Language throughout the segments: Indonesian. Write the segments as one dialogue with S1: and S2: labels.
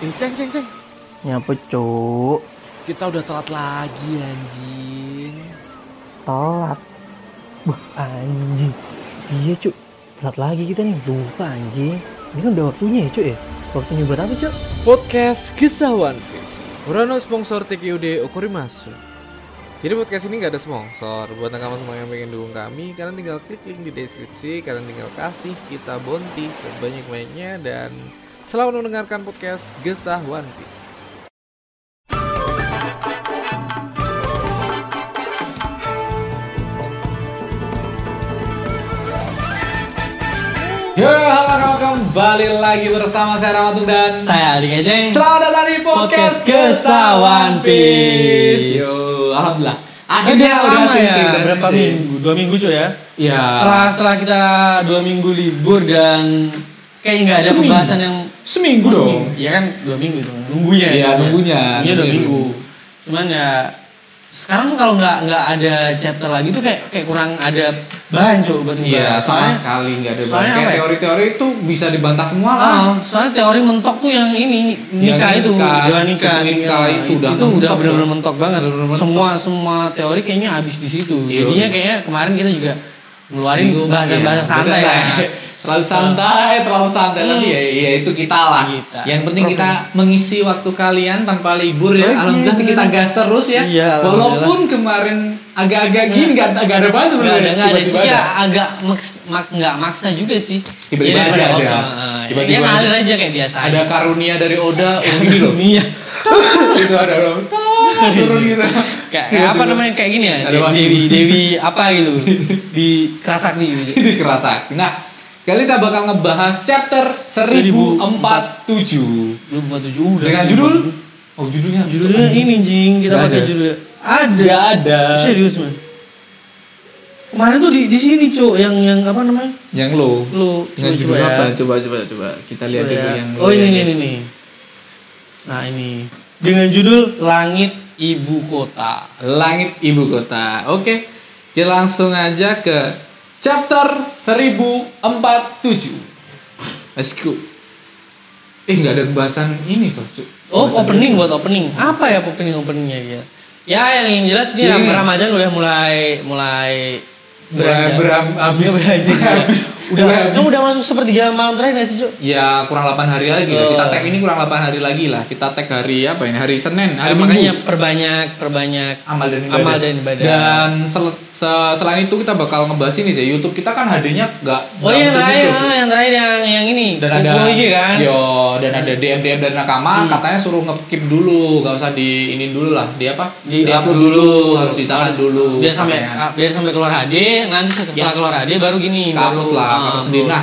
S1: Eh, ceng, ceng, ceng.
S2: Nyapa cuk?
S1: Kita udah telat lagi, anjing.
S2: Telat. Wah anjing. Iya cuk. Telat lagi kita nih. Lupa anjing. Ini kan udah waktunya ya cuk ya. Waktunya buat apa cuk?
S1: Podcast Kisah One Piece. Urano sponsor TQD Okorimasu. Jadi podcast ini nggak ada sponsor. Buat kamu semua yang pengen dukung kami, kalian tinggal klik link di deskripsi, kalian tinggal kasih kita bonti sebanyak-banyaknya dan selamat mendengarkan podcast Gesah One Piece. Yo, halo kawan kembali lagi bersama saya Ramatung dan
S2: Saya Adi Kejeng.
S1: Selamat datang di podcast,
S2: Podcast
S1: Gesah
S2: Gesah
S1: One
S2: One
S1: Piece.
S2: Piece.
S1: Yo, alhamdulillah.
S2: Akhirnya lama ya.
S1: titik dan
S2: Berapa
S1: titik.
S2: minggu? Dua minggu cuk ya.
S1: Ya.
S2: Setelah setelah kita dua minggu libur dan kayak nggak ada
S1: Seminggu.
S2: pembahasan yang
S1: seminggu dong.
S2: Iya kan dua minggu itu. Nunggunya.
S1: Iya,
S2: kan?
S1: nunggunya,
S2: Iya dua
S1: nunggunya.
S2: minggu. Cuman ya sekarang tuh kalau nggak nggak ada chapter lagi tuh kayak kayak kurang ada bahan coba
S1: Iya,
S2: buat ngebahas.
S1: sama
S2: soalnya
S1: sekali nggak ada
S2: soalnya
S1: banyak. Kayak
S2: apa ya?
S1: teori-teori itu bisa dibantah semua lah.
S2: ah, soalnya teori mentok tuh yang ini nikah
S1: Yang
S2: itu
S1: nikah,
S2: dewa nikah,
S1: sistem
S2: Iya,
S1: nikah itu udah
S2: itu udah
S1: mentok, ya.
S2: benar-benar mentok banget
S1: Benar-benar mentok.
S2: semua semua teori kayaknya habis di situ
S1: Iya.
S2: jadinya kayaknya kemarin kita juga ngeluarin
S1: Bingung,
S2: bahasa-bahasa
S1: iya.
S2: santai ya
S1: Terlalu santai, terlalu santai tapi ya, ya itu kita lah.
S2: Kita.
S1: Yang penting kita mengisi waktu kalian tanpa libur ya.
S2: Oke,
S1: Alhamdulillah
S2: bener.
S1: kita gas terus ya.
S2: Iya,
S1: Walaupun kemarin agak-agak gini nggak nggak ada banget
S2: Nggak ada,
S1: sebenarnya.
S2: nggak ada.
S1: Tiba-tiba
S2: Jadi
S1: ada.
S2: ya agak maks, mak, nggak maksa juga sih.
S1: Tiba-tiba
S2: Jadi
S1: aja
S2: kayak
S1: ada.
S2: kosong, eh,
S1: Tiba-tiba
S2: ya
S1: ada.
S2: ngalir aja kayak biasa.
S1: Ada karunia dari Oda oh, gini loh.
S2: Iya.
S1: gitu ada orang turun gitu.
S2: Kayak, kayak apa namanya kayak gini ya?
S1: Ada
S2: De-
S1: waktu.
S2: Dewi Dewi apa gitu di kerasak nih. Gitu.
S1: Ini kerasa. Nah, kali kita bakal ngebahas chapter 1047
S2: Lu buat tujuh udah.
S1: dengan judul Oh judulnya
S2: Judulnya ini jing kita
S1: Nggak
S2: pakai
S1: ada.
S2: judul. Ada.
S1: Nggak ada.
S2: Serius man. Kemarin tuh di di sini cuk yang yang apa namanya?
S1: yang lo
S2: Lu
S1: dengan
S2: coba-
S1: judul
S2: coba ya.
S1: apa? Coba coba coba kita lihat
S2: Coba
S1: dulu
S2: ya.
S1: yang lo
S2: Oh
S1: ya,
S2: ini ini
S1: guys.
S2: ini. ini. Nah ini dengan judul Langit Ibu Kota.
S1: Langit Ibu Kota. Oke. Kita langsung aja ke chapter 1047. Let's go. Eh nggak ada pembahasan ini tuh, Cuk.
S2: Oh
S1: Pembahasan
S2: opening buat opening. Apa ya opening openingnya dia? Ya yang jelas dia
S1: Iya.
S2: Ramadan udah mulai mulai
S1: Mulai beram- habis.
S2: Iya, beranjak.
S1: Habis.
S2: Udah,
S1: Mulai habis.
S2: kamu udah masuk sepertiga malam terakhir nggak sih Cuk?
S1: Ya kurang 8 hari lagi lah.
S2: Oh.
S1: Kita tag ini kurang 8 hari lagi lah. Kita tag hari apa ini? Hari Senin, hari
S2: Nah,
S1: Minggu.
S2: makanya perbanyak perbanyak
S1: Amal dan ibadah.
S2: amal dan ibadah.
S1: Dan sel- se- selain itu kita bakal ngebahas ini sih. YouTube kita kan HD-nya nggak
S2: oh
S1: nggak
S2: iya yang terakhir,
S1: muncul-muncul.
S2: ah, yang terakhir yang yang ini.
S1: Nah, dan ada
S2: Kumpul lagi kan. Hmm.
S1: yo dan ada DM DM dari nakama katanya suruh ngekip dulu nggak usah di ini dulu lah di apa
S2: Di-
S1: Di-upload
S2: upload
S1: dulu
S2: dulu.
S1: harus ditahan dulu
S2: Biar sampai ah,
S1: katanya.
S2: biar sampai keluar HD, nanti setelah
S1: Ya.
S2: keluar HD baru gini.
S1: Ke upload
S2: baru-
S1: lah
S2: ah,
S1: upload sendiri
S2: upload.
S1: nah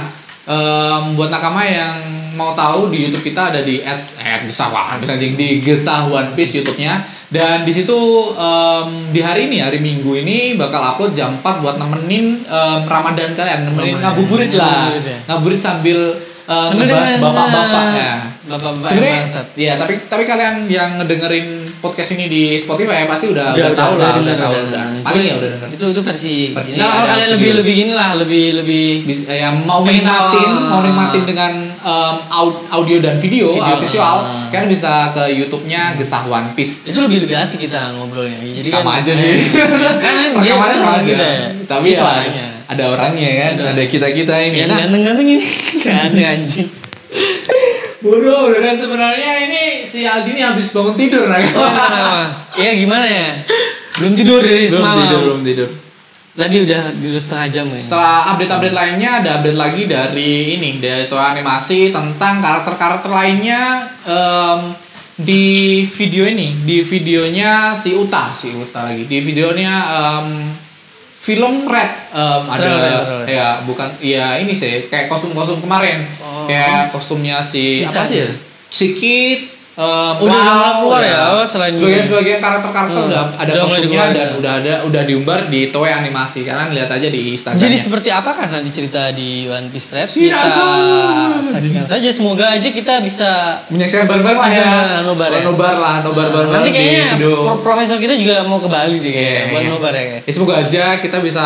S1: em, buat nakama yang mau tahu di YouTube kita ada di at eh, Gesah One Piece anjing. di Gesah One Piece YouTube-nya dan di situ em, di hari ini hari Minggu ini bakal upload jam 4 buat nemenin em, Ramadan kalian nemenin
S2: Ramadan.
S1: ngabuburit lah
S2: Ngabuburit ya.
S1: ngabuburit sambil em,
S2: Sambil
S1: ngebahas
S2: dengan-
S1: bapak-bapak ya
S2: kan, Bapak-bapak yang
S1: sebenarnya
S2: bangsat.
S1: ya tapi tapi kalian yang ngedengerin podcast ini di Spotify ya, pasti udah
S2: Udah,
S1: udah,
S2: udah,
S1: tahu lah udah
S2: udah, udah,
S1: tahu
S2: udah.
S1: udah paling ya udah denger
S2: itu itu versi,
S1: Versi
S2: nah, kalau
S1: ada
S2: kalian
S1: video.
S2: lebih lebih gini lah lebih lebih
S1: Bis- ya mau
S2: Pengen
S1: nikmatin
S2: tahu.
S1: mau nikmatin dengan em, au- audio dan video,
S2: Video.
S1: eh, visual
S2: Ah.
S1: kalian bisa ke YouTube-nya Gesah One Piece
S2: itu lebih lebih asik kita ngobrolnya jadi
S1: sama
S2: kan-
S1: aja sih
S2: kan dia
S1: rekamannya
S2: kan
S1: sama aja
S2: kita ya.
S1: tapi
S2: Iya,
S1: soalnya
S2: orangnya. Iya,
S1: ada orangnya kan
S2: Ada.
S1: ada kita kita ini
S2: yang
S1: Nah,
S2: ganteng ganteng ini kan anjing
S1: Bro, dan sebenarnya ini si Aldi ini habis bangun tidur nah.
S2: oh kenapa ya gimana ya belum tidur dari
S1: belum
S2: semalam
S1: tidur, belum tidur.
S2: tadi udah tidur setengah jam ya
S1: Setelah update-update lainnya ada update lagi dari ini dari toa animasi tentang karakter-karakter lainnya em, di video ini di videonya si Uta si Uta lagi di videonya em, film Red em, ada
S2: Trailer, trailer.
S1: ya bukan ya ini sih kayak kostum-kostum kemarin
S2: Oh.
S1: kayak kostumnya si
S2: Bisa
S1: apa sih ya?
S2: ya?
S1: si Kid em,
S2: Udah
S1: Bao,
S2: keluar ya? Oh, selain
S1: sebagian
S2: ini.
S1: sebagian karakter-karakter
S2: Hmm.
S1: udah ada
S2: Udah mulai
S1: kostumnya
S2: dikeluarin. ya?
S1: dan udah ada udah diumbar di Toei animasi kalian lihat aja di Instagram
S2: jadi seperti apa kan nanti cerita di One Piece Red kita
S1: Shirazo.
S2: saksikan saja semoga aja kita bisa
S1: menyaksikan bareng-bareng lah ya.
S2: Iya, nobar ya.
S1: Nobar lah, nobar bareng
S2: nanti
S1: di
S2: kayaknya
S1: Indo.
S2: pro- profesor kita juga mau ke Bali deh kayaknya
S1: Iya,
S2: buat
S1: iya.
S2: nobar ya kayak.
S1: Ya, semoga aja kita bisa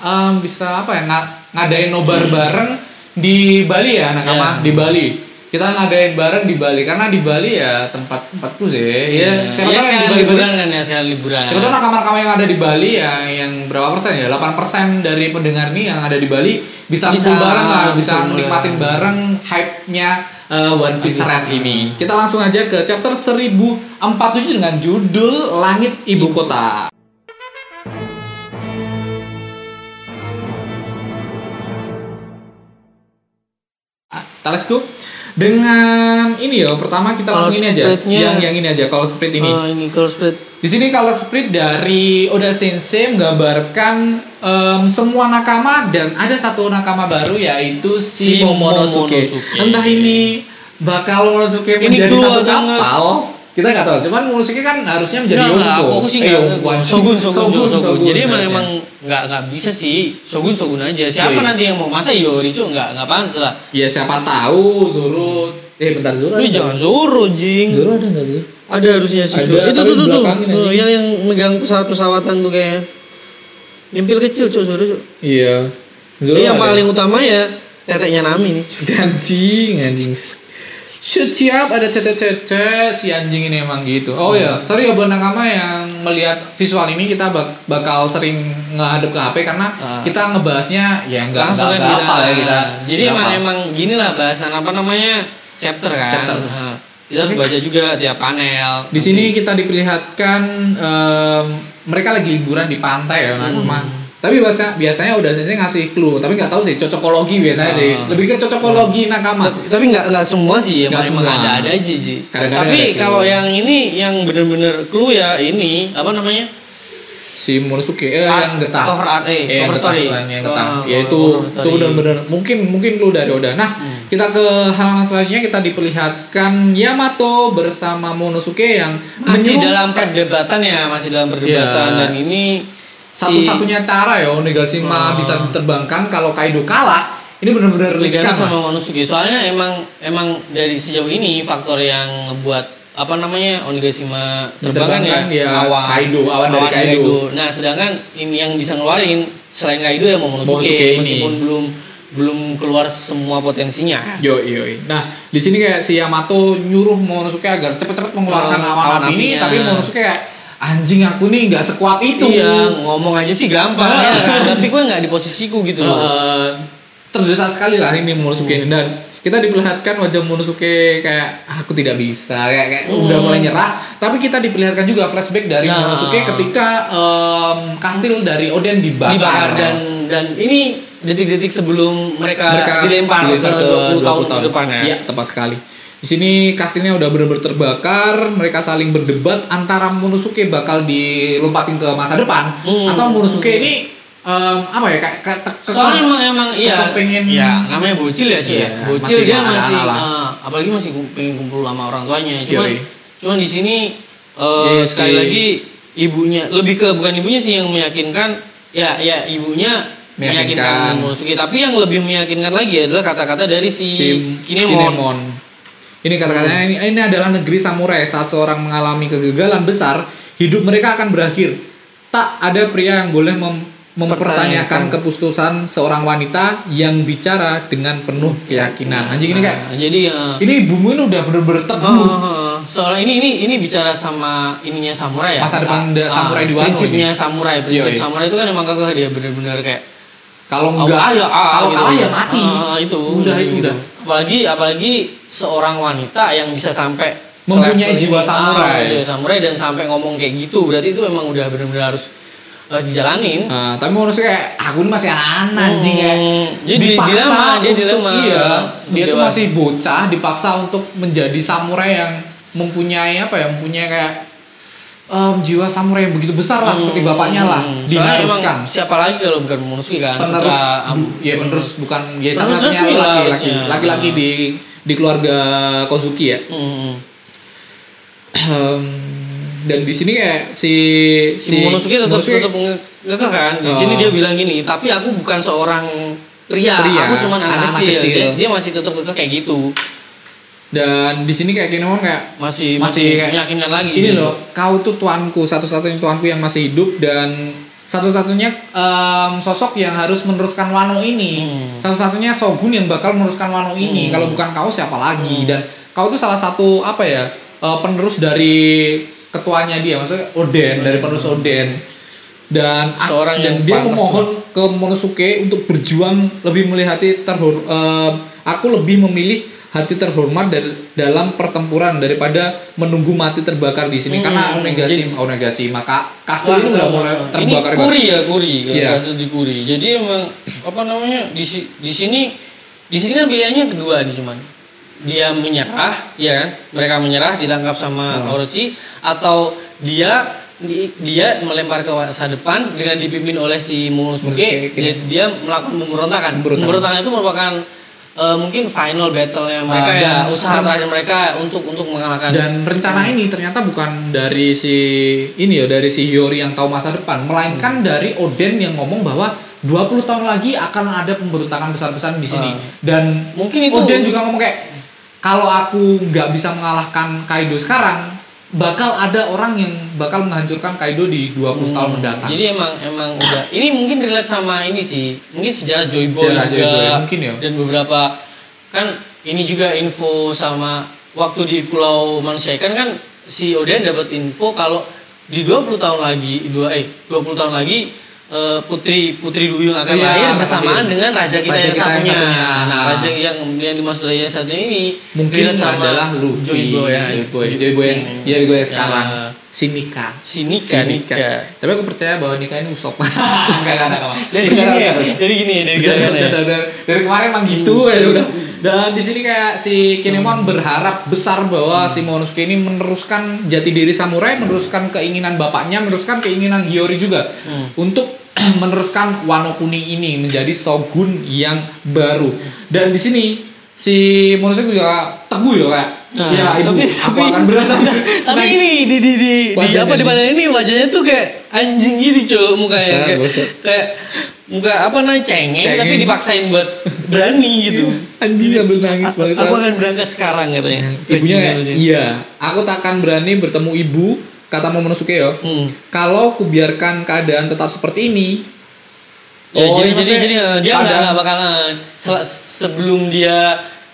S1: em, bisa apa ya nga- ngadain nobar bareng di Bali ya nakama
S2: Iya.
S1: di Bali.
S3: kita ngadain bareng di Bali karena di Bali ya tempat tempatku sih ya
S2: Iya, Iya,
S3: siapa tahu yang di
S2: sekalian
S3: Bali
S2: liburan kan ya, sekalian liburan.
S3: Siapa tahu nakama-nakama yang ada di Bali ya yang berapa persen ya 8 persen dari pendengar ini yang ada di Bali bisa,
S2: Bisa,
S3: bisa bareng lah
S2: bisa
S3: bisa
S2: ngumpul
S3: menikmatin bareng hype-nya uh, One
S2: Eh,
S3: Piece
S2: One Piece.
S3: Red ini kita langsung aja ke chapter 1047 dengan judul Langit Ibu Kota Ah, Teleskop dengan ini ya pertama kita
S2: Kalau
S3: langsung ini aja
S2: spreadnya-
S3: yang yang ini aja kalau split ini
S2: Oh, ini kalau split.
S3: di sini color split dari Oda Sensei menggambarkan em, semua nakama dan ada satu nakama baru yaitu si,
S2: Si
S3: Momonosuke.
S2: Momonosuke.
S3: Entah ini bakal Momonosuke
S2: Ini
S3: menjadi
S2: dua
S3: satu
S2: banget.
S3: kapal. Kita nggak tahu. Cuman Momonosuke kan harusnya menjadi
S2: Enggak, enggak,
S3: Yonko.
S2: aku sih
S3: Eh,
S2: enggak.
S3: Yonko aja.
S2: Shogun, Shogun, Shogun, Shogun. Jadi emang
S3: harusnya.
S2: emang enggak enggak bisa sih. Shogun, Shogun aja. Siapa
S3: Iya.
S2: nanti yang mau masa Yori cuk enggak enggak pantas lah.
S3: ya siapa tahu Zoro. Eh bentar Zoro.
S2: Lu
S3: ada
S2: jangan suruh jing.
S3: Zoro ada nggak sih?
S2: Ada harusnya sih.
S3: Ada,
S2: Cuk. itu tuh
S3: tapi
S2: tuh tuh.
S3: belakangin aja.
S2: Tuh, yang yang megang pesawat pesawatan tuh kayaknya. Nyempil kecil cuk suruh cuk.
S3: Iya. Zoro.
S2: Ini yang
S3: ada.
S2: paling utama ya teteknya Nami nih.
S3: anjing anjing shoot siap ada cece cece si anjing ini emang gitu oh ya
S2: Hmm.
S3: sorry ya buat nakama yang melihat visual ini kita bak- bakal sering ngehadap ke HP karena
S2: Ah.
S3: kita ngebahasnya ya nggak
S2: Langsung
S3: nggak
S2: kan
S3: nggak apa ya kita
S2: Jadi
S3: nggak
S2: emang
S3: apa.
S2: emang gini lah bahasan apa namanya chapter kan.
S3: Chapter.
S2: Nah, kita harus baca juga tiap panel.
S3: di sini kita diperlihatkan em, mereka lagi liburan di pantai
S2: Hmm.
S3: ya nakama tapi biasanya biasanya udah sensei ngasih clue tapi nggak tahu sih cocokologi biasanya sih
S2: Ah.
S3: lebih ke cocokologi nakama
S2: tapi nggak nggak semua sih emang,
S3: Nggak
S2: emang
S3: semua.
S2: ada ada aja sih
S3: Kadang-kadang ada gitu.
S2: tapi
S3: clue.
S2: kalau yang ini yang bener-bener clue ya ini apa namanya
S3: si Monosuke eh, yang getah
S2: cover art eh
S3: Iya,
S2: cover story
S3: yang yang ketang.
S2: Oh,
S3: yaitu
S2: cover
S3: itu
S2: story. Hmm.
S3: benar-benar mungkin mungkin lu dari Oda. Nah, kita ke halaman selanjutnya kita diperlihatkan Yamato bersama Monosuke yang
S2: masih
S3: menyuruh- eh,
S2: dalam perdebatan ya masih dalam perdebatan
S3: Iya.
S2: dan ini si
S3: satu-satunya cara ya Onigashima
S2: Oh.
S3: bisa diterbangkan kalau Kaido kalah. Ini benar-benar
S2: Ligano
S3: riskan.
S2: sama Monosuke soalnya emang emang dari sejauh ini faktor yang buat apa namanya Onigashima terbangan ya,
S3: Diterbangkan ya Kaido, awan dari Kaido.
S2: Nah, sedangkan ini yang bisa ngeluarin selain Kaido ya Momonosuke,
S3: Momonosuke ini.
S2: meskipun belum belum keluar semua potensinya.
S3: Yo yo. Nah, di sini kayak si Yamato nyuruh Monosuke agar cepet-cepet mengeluarkan
S2: Oh,
S3: awan
S2: awan
S3: api ini,
S2: apinya.
S3: tapi Monosuke kayak anjing aku nih nggak sekuat itu.
S2: Iya, ngomong aja sih gampang
S3: Ah.
S2: ya kan? tapi gue nggak di posisiku gitu loh.
S3: Eh, terdesak sekali lah ini
S2: Hmm.
S3: Monosuke ini dan kita diperlihatkan wajah Monosuke kayak "Ah, aku tidak bisa kayak, kayak udah mulai nyerah tapi kita diperlihatkan juga flashback dari
S2: Hmm. Nah.
S3: Monosuke ketika em, kastil dari Oden dibakar,
S2: dibakar dan dan ini detik-detik sebelum mereka, dilempar, ke 20 tahun, ke depan ya.
S3: Iya, tepat sekali. Di sini kastilnya udah benar-benar terbakar, mereka saling berdebat antara Monosuke bakal dilompatin ke masa depan
S2: Hmm.
S3: atau Monosuke ini em, apa ya kayak kayak te-
S2: soalnya emang emang iya
S3: tetap pengen-
S2: ya namanya bocil ya cuy ya.
S3: Iya,
S2: bocil
S3: masih
S2: dia
S3: anak-anak
S2: masih
S3: lah.
S2: eh, apalagi masih kum- pengen kumpul sama orang tuanya cuman
S3: Yoi.
S2: cuman di sini eh,
S3: Iya,
S2: sekali
S3: sih.
S2: lagi ibunya lebih ke bukan ibunya sih yang meyakinkan ya ya ibunya
S3: Meyakinkan.
S2: meyakinkan, Momonosuke tapi yang lebih meyakinkan lagi adalah kata-kata dari si,
S3: si
S2: Kinemon. Hmm.
S3: Kinemon. Ini kata-katanya ini, ini adalah negeri samurai. Saat seorang mengalami kegagalan besar, hidup mereka akan berakhir. Tak ada pria yang boleh mem- mempertanyakan
S2: Pertanyakan.
S3: keputusan seorang wanita yang bicara dengan penuh
S2: Hmm.
S3: keyakinan. Anjing ini kayak
S2: Nah, jadi eh,
S3: ini bumi ini udah bener-bener teguh.
S2: Oh, soalnya ini ini ini bicara sama ininya samurai ya.
S3: Masa depan da-
S2: Ah,
S3: samurai di Wano
S2: Prinsipnya samurai, prinsip
S3: Yoi.
S2: samurai itu kan emang kagak dia bener-bener kayak
S3: Kalau
S2: "Ah,
S3: enggak,
S2: ah, ya, ah,
S3: kalau
S2: gitu.
S3: kalah ya mati.
S2: Ah, itu
S3: Udah, gitu. itu udah.
S2: Apalagi apalagi seorang wanita yang bisa sampai
S3: Mempunyai
S2: level
S3: jiwa
S2: ini.
S3: samurai.
S2: Ah, jiwa samurai dan sampai ngomong kayak gitu, berarti itu emang udah bener-bener harus eh, dijalanin.
S3: Nah, tapi menurut saya kayak aku ini masih anak-anak anjing kayak
S2: Hmm, jadi dia
S3: dipaksa
S2: dilema, dia
S3: untuk-
S2: dilema.
S3: iya
S2: Untuk
S3: dia tuh
S2: dewasa.
S3: masih bocah dipaksa untuk menjadi samurai yang mempunyai apa ya mempunyai kayak em, jiwa samurai yang begitu besar lah seperti bapaknya lah
S2: Hmm, soalnya emang
S3: diharuskan
S2: siapa lagi kalau bukan Momonosuke kan? hmm.
S3: penerus
S2: Putra, am-
S3: ya penerus bukan ya
S2: Penerus
S3: satu-satunya
S2: resmi lah
S3: laki-laki
S2: harusnya.
S3: laki-laki di di keluarga Kozuki ya
S2: Hmm.
S3: Em, dan di sini kayak si
S2: Si Momonosuke tetap tetap nge- ngekeh kan. Di
S3: Oh.
S2: sini dia bilang gini, tapi aku bukan seorang pria,
S3: Pria,
S2: aku cuma anak,
S3: anak-anak
S2: kecil.
S3: kecil.
S2: Dia, dia masih tetap kekeh kayak gitu.
S3: dan di sini kayak Kinemon kayak
S2: Masih
S3: Masih
S2: masih,
S3: kayak-
S2: meyakinkan lagi.
S3: ini
S2: gitu.
S3: loh kau tuh tuanku satu-satunya tuanku yang masih hidup dan satu-satunya em, sosok yang harus meneruskan Wano ini.
S2: Hmm.
S3: Satu-satunya Shogun yang bakal meneruskan Wano ini.
S2: Hmm.
S3: Kalau bukan kau siapa lagi? Dan kau tuh salah satu apa ya? eh, penerus dari ketuanya dia, maksudnya Oden, dari penerus Oden. Dan
S2: Seorang
S3: dan
S2: yang
S3: dia
S2: pantas
S3: memohon ke Monosuke untuk berjuang lebih melihat hati terhor eh, aku lebih memilih hati terhormat dari, dalam pertempuran daripada menunggu mati terbakar di sini
S2: Hmm,
S3: karena
S2: hmm,
S3: Onega
S2: jadi-
S3: Shima- Onega Shima Ka- kastil ini udah mulai
S2: ini
S3: terbakar guys.
S2: kuri ya kuri
S3: Iya.
S2: kasus di kuri jadi emang apa namanya di si- di sini di sini kan pilihannya kedua nih cuman dia menyerah ya kan mereka menyerah ditangkap sama
S3: Hmm.
S2: Orochi atau dia di- dia melempar ke masa depan dengan dipimpin oleh si Momosuke
S3: Momosuke,
S2: dia, dia melakukan pemberontakan
S3: Pemberontakan.
S2: pemberontakan itu merupakan eh, mungkin final battle yang mereka
S3: Ah,
S2: ya
S3: dan-
S2: usaha terakhir mereka untuk untuk mengalahkan
S3: dan rencana
S2: Hmm.
S3: ini ternyata bukan dari si ini ya dari si Hiyori yang tahu masa depan melainkan
S2: Hmm.
S3: dari Oden yang ngomong bahwa 20 tahun lagi akan ada pemberontakan besar-besaran di
S2: Ah.
S3: sini Oh, dan
S2: mungkin itu
S3: Oden juga ngomong kayak kalau aku nggak bisa mengalahkan Kaido sekarang bakal ada orang yang bakal menghancurkan Kaido di 20 tahun
S2: Hmm,
S3: mendatang.
S2: Jadi emang emang udah ini mungkin relate sama ini sih. Mungkin sejarah Joy Boy
S3: Sejarah
S2: juga
S3: Joy Boy, mungkin ya.
S2: dan beberapa kan ini juga info sama waktu di Pulau Manusia Ikan kan si Oden dapat info kalau di 20 tahun lagi dua eh 20 tahun lagi eh, putri putri duyung akan
S3: Iya,
S2: lahir
S3: akan
S2: bersamaan
S3: lahir.
S2: dengan raja kita,
S3: Raja
S2: yang,
S3: kita yang
S2: satunya.
S3: satunya.
S2: Nah, raja yang yang dimaksud raja yang satunya ini
S3: mungkin
S2: relate sama
S3: adalah Luffy,
S2: Joy Boy ya.
S3: Joy Boy, Joy Boy yang, ya, Joy Boy yang sekarang, si Nika.
S2: Si Nika, Nika.
S3: Tapi aku percaya bahwa Nika ini usop. Enggak enggak enggak.
S2: dari gini ya, dari gini ya, dari
S3: Bercanda,
S2: gerakannya.
S3: bercanda. dari, dari kemarin emang gitu
S2: Iya,
S3: ya udah. Dan di sini kayak si Kinemon berharap besar bahwa
S2: Hmm.
S3: si Momonosuke ini meneruskan jati diri samurai, meneruskan keinginan bapaknya, meneruskan keinginan Hiyori juga
S2: Hmm.
S3: untuk meneruskan Wano Kuni ini menjadi shogun yang baru.
S2: Hmm.
S3: Dan di sini si Momonosuke juga teguh ya kayak
S2: Nah,
S3: ya ibu,
S2: tapi-
S3: aku
S2: tapi-
S3: akan berasa.
S2: Tapi ini di di di, di
S3: Wajahnya Ya,
S2: apa di
S3: nih.
S2: mana ini wajahnya tuh kayak anjing gitu cuy mukanya
S3: Bosan,
S2: kayak,
S3: bosan.
S2: kayak muka apa namanya cengeng,
S3: Cengeng. Iya.
S2: tapi dipaksain buat berani gitu.
S3: anjing sambil nangis
S2: Aku,
S3: banget.
S2: aku akan gitu berangkat sekarang katanya.
S3: Ibunya kayak,
S2: Bajingan, bajingan.
S3: iya, aku tak akan berani bertemu ibu, kata Momonosuke ya.
S2: Hmm.
S3: Kalau kubiarkan keadaan tetap seperti ini,
S2: Ya,
S3: Oh,
S2: jadi, jadi,
S3: ini maksudnya
S2: jadi eh, dia nggak
S3: keadaan-
S2: nggak bakalan se- sebelum dia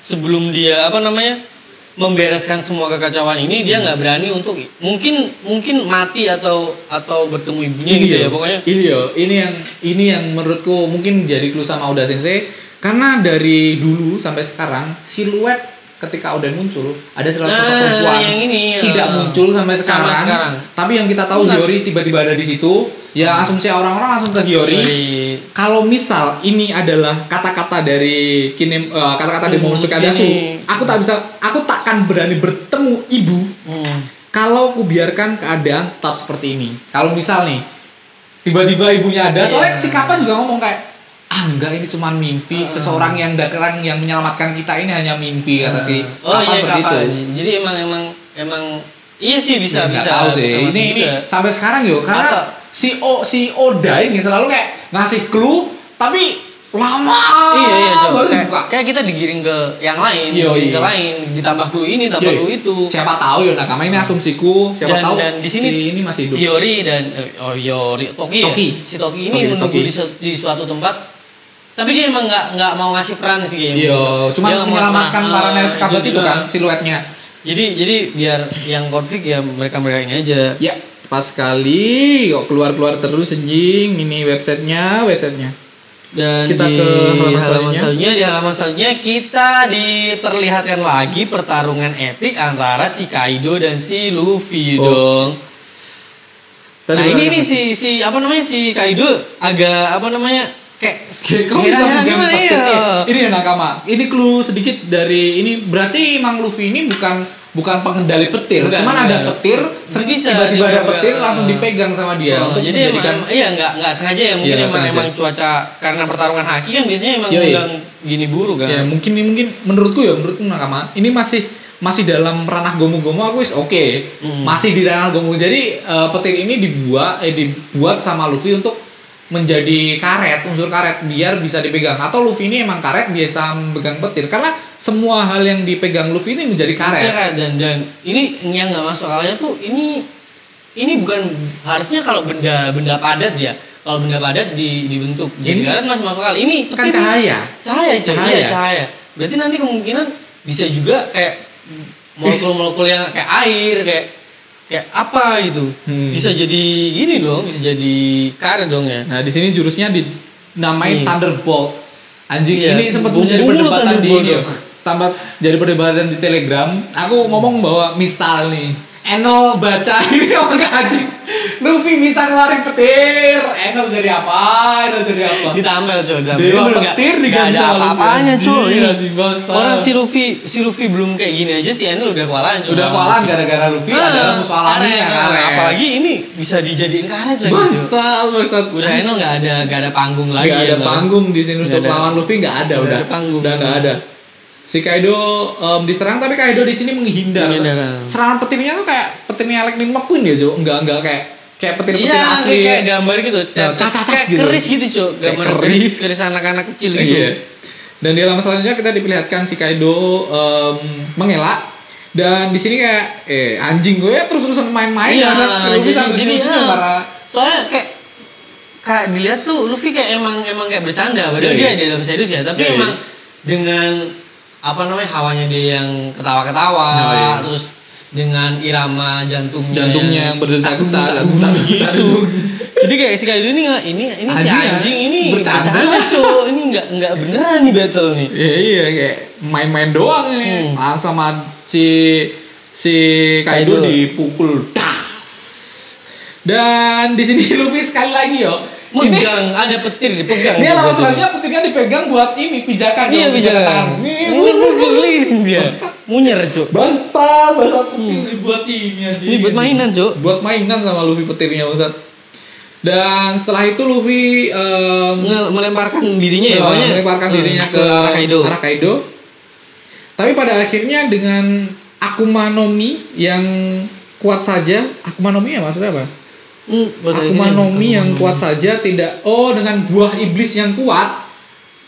S2: sebelum dia apa namanya membereskan semua kekacauan ini dia nggak berani untuk mungkin mungkin mati atau atau bertemu ibunya gitu ya
S3: yo,
S2: pokoknya
S3: Ini yo, ini yang ini yang menurutku mungkin jadi clue sama Oda Sensei karena dari dulu sampai sekarang siluet ketika Oda muncul ada siluet sosok
S2: Nah,
S3: Iya, perempuan
S2: yang ini,
S3: tidak
S2: eh,
S3: muncul sampai
S2: sama
S3: sekarang,
S2: sekarang.
S3: Tapi yang kita tahu
S2: Bukan. Hmm.
S3: Hiyori tiba-tiba ada di situ. Ya asumsi orang-orang langsung ke Hiyori.
S2: Dari-
S3: kalau misal ini adalah kata-kata dari kinem eh, kata-kata dari
S2: Hmm,
S3: Momonosuke
S2: segini.
S3: adaku, aku tak bisa aku takkan berani bertemu ibu
S2: Hmm.
S3: kalau aku biarkan keadaan tetap seperti ini. Kalau misal nih tiba-tiba ibunya ada, soalnya
S2: Iya.
S3: si Kappa juga ngomong kayak ah enggak ini cuma mimpi seseorang yang datang yang menyelamatkan kita ini hanya mimpi kata si
S2: Oh
S3: Kappa
S2: iya
S3: seperti
S2: kapal.
S3: itu.
S2: Jadi emang emang emang iya sih bisa
S3: Ya, Nggak
S2: bisa.
S3: tahu sih.
S2: bisa masuk
S3: ini ini
S2: juga.
S3: sampai sekarang yo
S2: Atau-
S3: karena si O si Oda ini selalu kayak ngasih clue tapi lama
S2: Iya iya coba.
S3: Ah, baru
S2: Kayak,
S3: buka.
S2: kayak kita digiring ke yang lain,
S3: Iya,
S2: digiring
S3: iya.
S2: ke lain, ditambah clue ini, tambah
S3: Iya, iya.
S2: clue itu.
S3: siapa tahu yo nakama ini asumsiku
S2: Hmm.
S3: siapa
S2: Dan-
S3: tahu
S2: dan di sini-
S3: si ini masih hidup
S2: Yori dan eh, oh Yori Toki, ya?
S3: Toki.
S2: si Toki ini
S3: Sorry,
S2: menunggu
S3: Toki.
S2: Di, su- di suatu tempat. Tapi dia emang nggak nggak mau ngasih peran sih kayaknya. Dia
S3: Iya,
S2: nggak
S3: cuma
S2: mau
S3: menyelamatkan
S2: ngasih
S3: para
S2: peran.
S3: nenek
S2: Ah,
S3: kabut
S2: iya
S3: itu
S2: juga.
S3: kan siluetnya.
S2: Jadi jadi biar yang konflik ya mereka mereka ini aja.
S3: Ya, pas sekali kok keluar-keluar terus anjing. Ini websitenya, websitenya.
S2: Dan
S3: Kita
S2: di
S3: ke halaman selanjutnya.
S2: selanjutnya, di halaman selanjutnya kita diperlihatkan lagi pertarungan epik antara si Kaido dan si Luffy
S3: Oh.
S2: dong.
S3: Tadi
S2: nah ini
S3: berapa?
S2: nih si si apa namanya si Kaido agak apa namanya kayak
S3: Kok bisa
S2: heran-heran
S3: menggam
S2: gimana
S3: petir?
S2: ya?
S3: Eh, Ini ya nakama. Ini clue sedikit dari ini berarti Mang Luffy ini bukan bukan pengendali petir,
S2: Bukan,
S3: cuman
S2: bukan.
S3: ada petir,
S2: Bisa, bisa, dia
S3: tiba-tiba ada
S2: juga.
S3: petir langsung dipegang sama dia
S2: Oh,
S3: untuk
S2: jadi
S3: menjadikan
S2: emang, iya nggak nggak sengaja ya mungkin
S3: Iya, nggak
S2: emang,
S3: sengaja. Iya,
S2: emang cuaca karena pertarungan haki kan biasanya emang
S3: Yoi.
S2: undang gini buruk kan.
S3: ya mungkin ini mungkin menurutku ya menurutku nakama ini masih masih dalam ranah gomu-gomu aku is oke
S2: Hmm.
S3: masih di ranah gomu jadi eh, petir ini dibuat eh, dibuat sama Luffy untuk menjadi karet unsur karet biar bisa dipegang atau Luffy ini emang karet biasa memegang petir karena semua hal yang dipegang Luffy ini menjadi karet
S2: Iya kan, dan dan ini yang nggak masuk akalnya tuh ini ini bukan harusnya kalau benda benda padat ya kalau benda padat di, dibentuk jadi
S3: Ini-
S2: karet masih masuk akal ini
S3: kan
S2: petir.
S3: cahaya
S2: cahaya cahaya
S3: Cahaya.
S2: cahaya, berarti nanti kemungkinan bisa juga kayak molekul-molekul yang kayak air kayak kayak apa gitu
S3: Hmm.
S2: bisa jadi gini dong bisa jadi karet dong ya
S3: nah di sini jurusnya dinamain
S2: Iya.
S3: thunderbolt anjing
S2: Iya.
S3: ini sempat
S2: Bung-
S3: menjadi
S2: bung lu
S3: perdebatan di
S2: Thunderbolt
S3: ini
S2: dong.
S3: sempat jadi perdebatan di telegram aku ngomong bahwa misal nih Enol baca ini orang anjing Luffy bisa ngeluarin petir Enol jadi apa Enol jadi apa
S2: ditambel coy ditambel.
S3: Dewa
S2: Emang Iya, nggak-
S3: petir
S2: nggak ada
S3: diganti sama
S2: apa-apanya
S3: Luffy.
S2: coy
S3: Iya,
S2: ini
S3: dibangsa.
S2: orang si Luffy si Luffy belum kayak gini aja si Enel udah kewalahan coy
S3: Udah kualan gara-gara Luffy
S2: Ah,
S3: adalah musuh alami ya
S2: karet.
S3: karet.
S2: kan. apalagi ini bisa dijadiin karet lagi coy.
S3: Bangsat, bangsat.
S2: udah Enel nggak ada nggak ada panggung lagi
S3: Nggak
S2: ya,
S3: ada
S2: Bang.
S3: panggung di
S2: Nggak
S3: sini untuk
S2: ada.
S3: lawan Luffy nggak ada
S2: Nggak
S3: udah.
S2: ada panggung.
S3: Udah nggak ada. Si Kaido em, diserang tapi Kaido di sini menghindar.
S2: Menghindar.
S3: Serangan petirnya tuh kayak petirnya Lightning McQueen ya, Jo. Enggak enggak kayak kayak petir-petir
S2: Iya,
S3: asli.
S2: kayak- kayak gambar gitu.
S3: Nah, cacat-cacat
S2: kayak
S3: gitu.
S2: keris gitu, Cuk.
S3: Kayak
S2: Gambar
S3: keris.
S2: keris, keris anak-anak kecil gitu.
S3: Iya. Dan di halaman selanjutnya kita diperlihatkan si Kaido em, mengelak dan di sini kayak eh anjing gue terus-terusan main-main
S2: Iya,
S3: karena Luffy
S2: jadi-
S3: sampai
S2: jadi,
S3: sini
S2: iya.
S3: karena
S2: Soalnya kayak kayak dilihat tuh Luffy kayak emang emang kayak bercanda, padahal
S3: Iya,
S2: dia
S3: iya.
S2: dia dalam serius ya, tapi
S3: Iya, iya.
S2: emang dengan apa namanya hawanya dia yang ketawa-ketawa,
S3: Oh, iya.
S2: terus dengan irama jantungnya
S3: jantungnya Iya. yang berdetak-detak detak-detak
S2: gitu. Jadi kayak si Kaido ini nggak- ini ini si
S3: Anjing ya,
S2: anjing ini
S3: bercanda.
S2: Cuk. ini nggak nggak beneran nih battle nih.
S3: Iya iya kayak main-main doang ini.
S2: Hmm.
S3: Ah, sama si si Kaido
S2: Kaido.
S3: dipukul das. Dan di sini Luffy sekali lagi yo. Ini
S2: Megang, ada petir dipegang.
S3: dia
S2: Gitu.
S3: lama selanjutnya ketika dipegang buat ini pijakan
S2: Iya
S3: dong,
S2: pijakan. Hmm.
S3: Ini
S2: Ngeling dia. Munyer, Cuk.
S3: Bangsa, bangsa petir dibuat ini
S2: Hmm.
S3: anjing.
S2: Ini buat mainan, Cuk.
S3: Buat mainan sama Luffy petirnya bangsat. Dan setelah itu Luffy em,
S2: Nge- melemparkan dirinya ya,
S3: Iya,
S2: pokoknya
S3: melemparkan dirinya
S2: Hmm,
S3: ke
S2: arah Kaido.
S3: arah Kaido. Tapi pada akhirnya dengan Akuma no Mi yang kuat saja, Akuma no Mi ya maksudnya apa?
S2: Hmm, buat
S3: Akuma
S2: akhirnya.
S3: no Mi yang kuat saja tidak oh dengan buah iblis yang kuat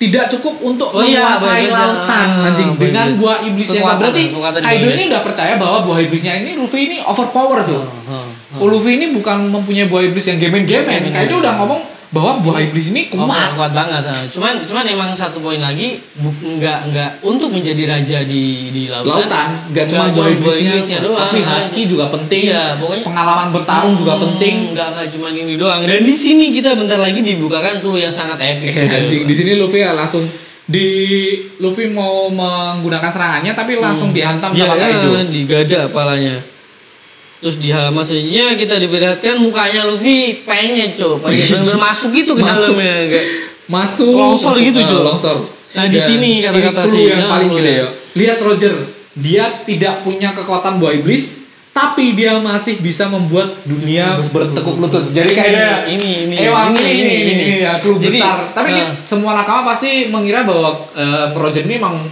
S3: tidak cukup untuk
S2: Oh iya,
S3: menguasai
S2: buah iblis.
S3: lautan
S2: Ah,
S3: anjing
S2: buah
S3: dengan
S2: iblis.
S3: buah iblis yang kuat
S2: Kekuatan,
S3: berarti
S2: kekuatan buah
S3: Kaido
S2: iblis.
S3: ini udah percaya bahwa buah iblisnya ini Luffy ini overpower tuh.
S2: Heeh.
S3: Oh, Luffy ini bukan mempunyai buah iblis yang gemen-gemen.
S2: Gemen-gemen.
S3: Kaido udah ngomong bahwa buah iblis ini
S2: Oh,
S3: kuat.
S2: kuat banget. ah. Cuman cuman emang satu poin lagi bu, enggak enggak untuk menjadi raja di di lautan.
S3: lautan nggak cuma buah iblisnya, tapi haki juga penting
S2: Iya, pokoknya-
S3: pengalaman bertarung juga
S2: Hmm,
S3: penting
S2: Enggak enggak cuma ini doang. Dan di sini kita bentar lagi dibukakan clue yang sangat epic.
S3: Eh, anjing di sini Luffy ya langsung di Luffy mau menggunakan serangannya tapi langsung dihantam
S2: Iya,
S3: sama Kaido
S2: kan, digada kepalanya. Terus di halaman selanjutnya kita diperlihatkan mukanya Luffy pengen cok, pengen bener-bener masuk gitu ke
S3: Masuk.
S2: dalamnya kayak
S3: masuk
S2: Longsor gitu,
S3: eh,
S2: Jo.
S3: longsor
S2: Nah, di
S3: Dan
S2: sini kata-kata
S3: ini clue
S2: si-
S3: yang
S2: nah,
S3: paling
S2: clue
S3: gede
S2: ya.
S3: ya lihat Roger dia tidak punya kekuatan buah iblis tapi dia masih bisa membuat dunia bertekuk lutut. Jadi kayaknya
S2: Ini, ini, ini,
S3: Ewan, ini,
S2: ini,
S3: ini, ini,
S2: ini, ini.
S3: ya, clue
S2: Jadi,
S3: besar. Eh, Tapi ini
S2: nah.
S3: semua nakama pasti mengira bahwa eh, Roger ini emang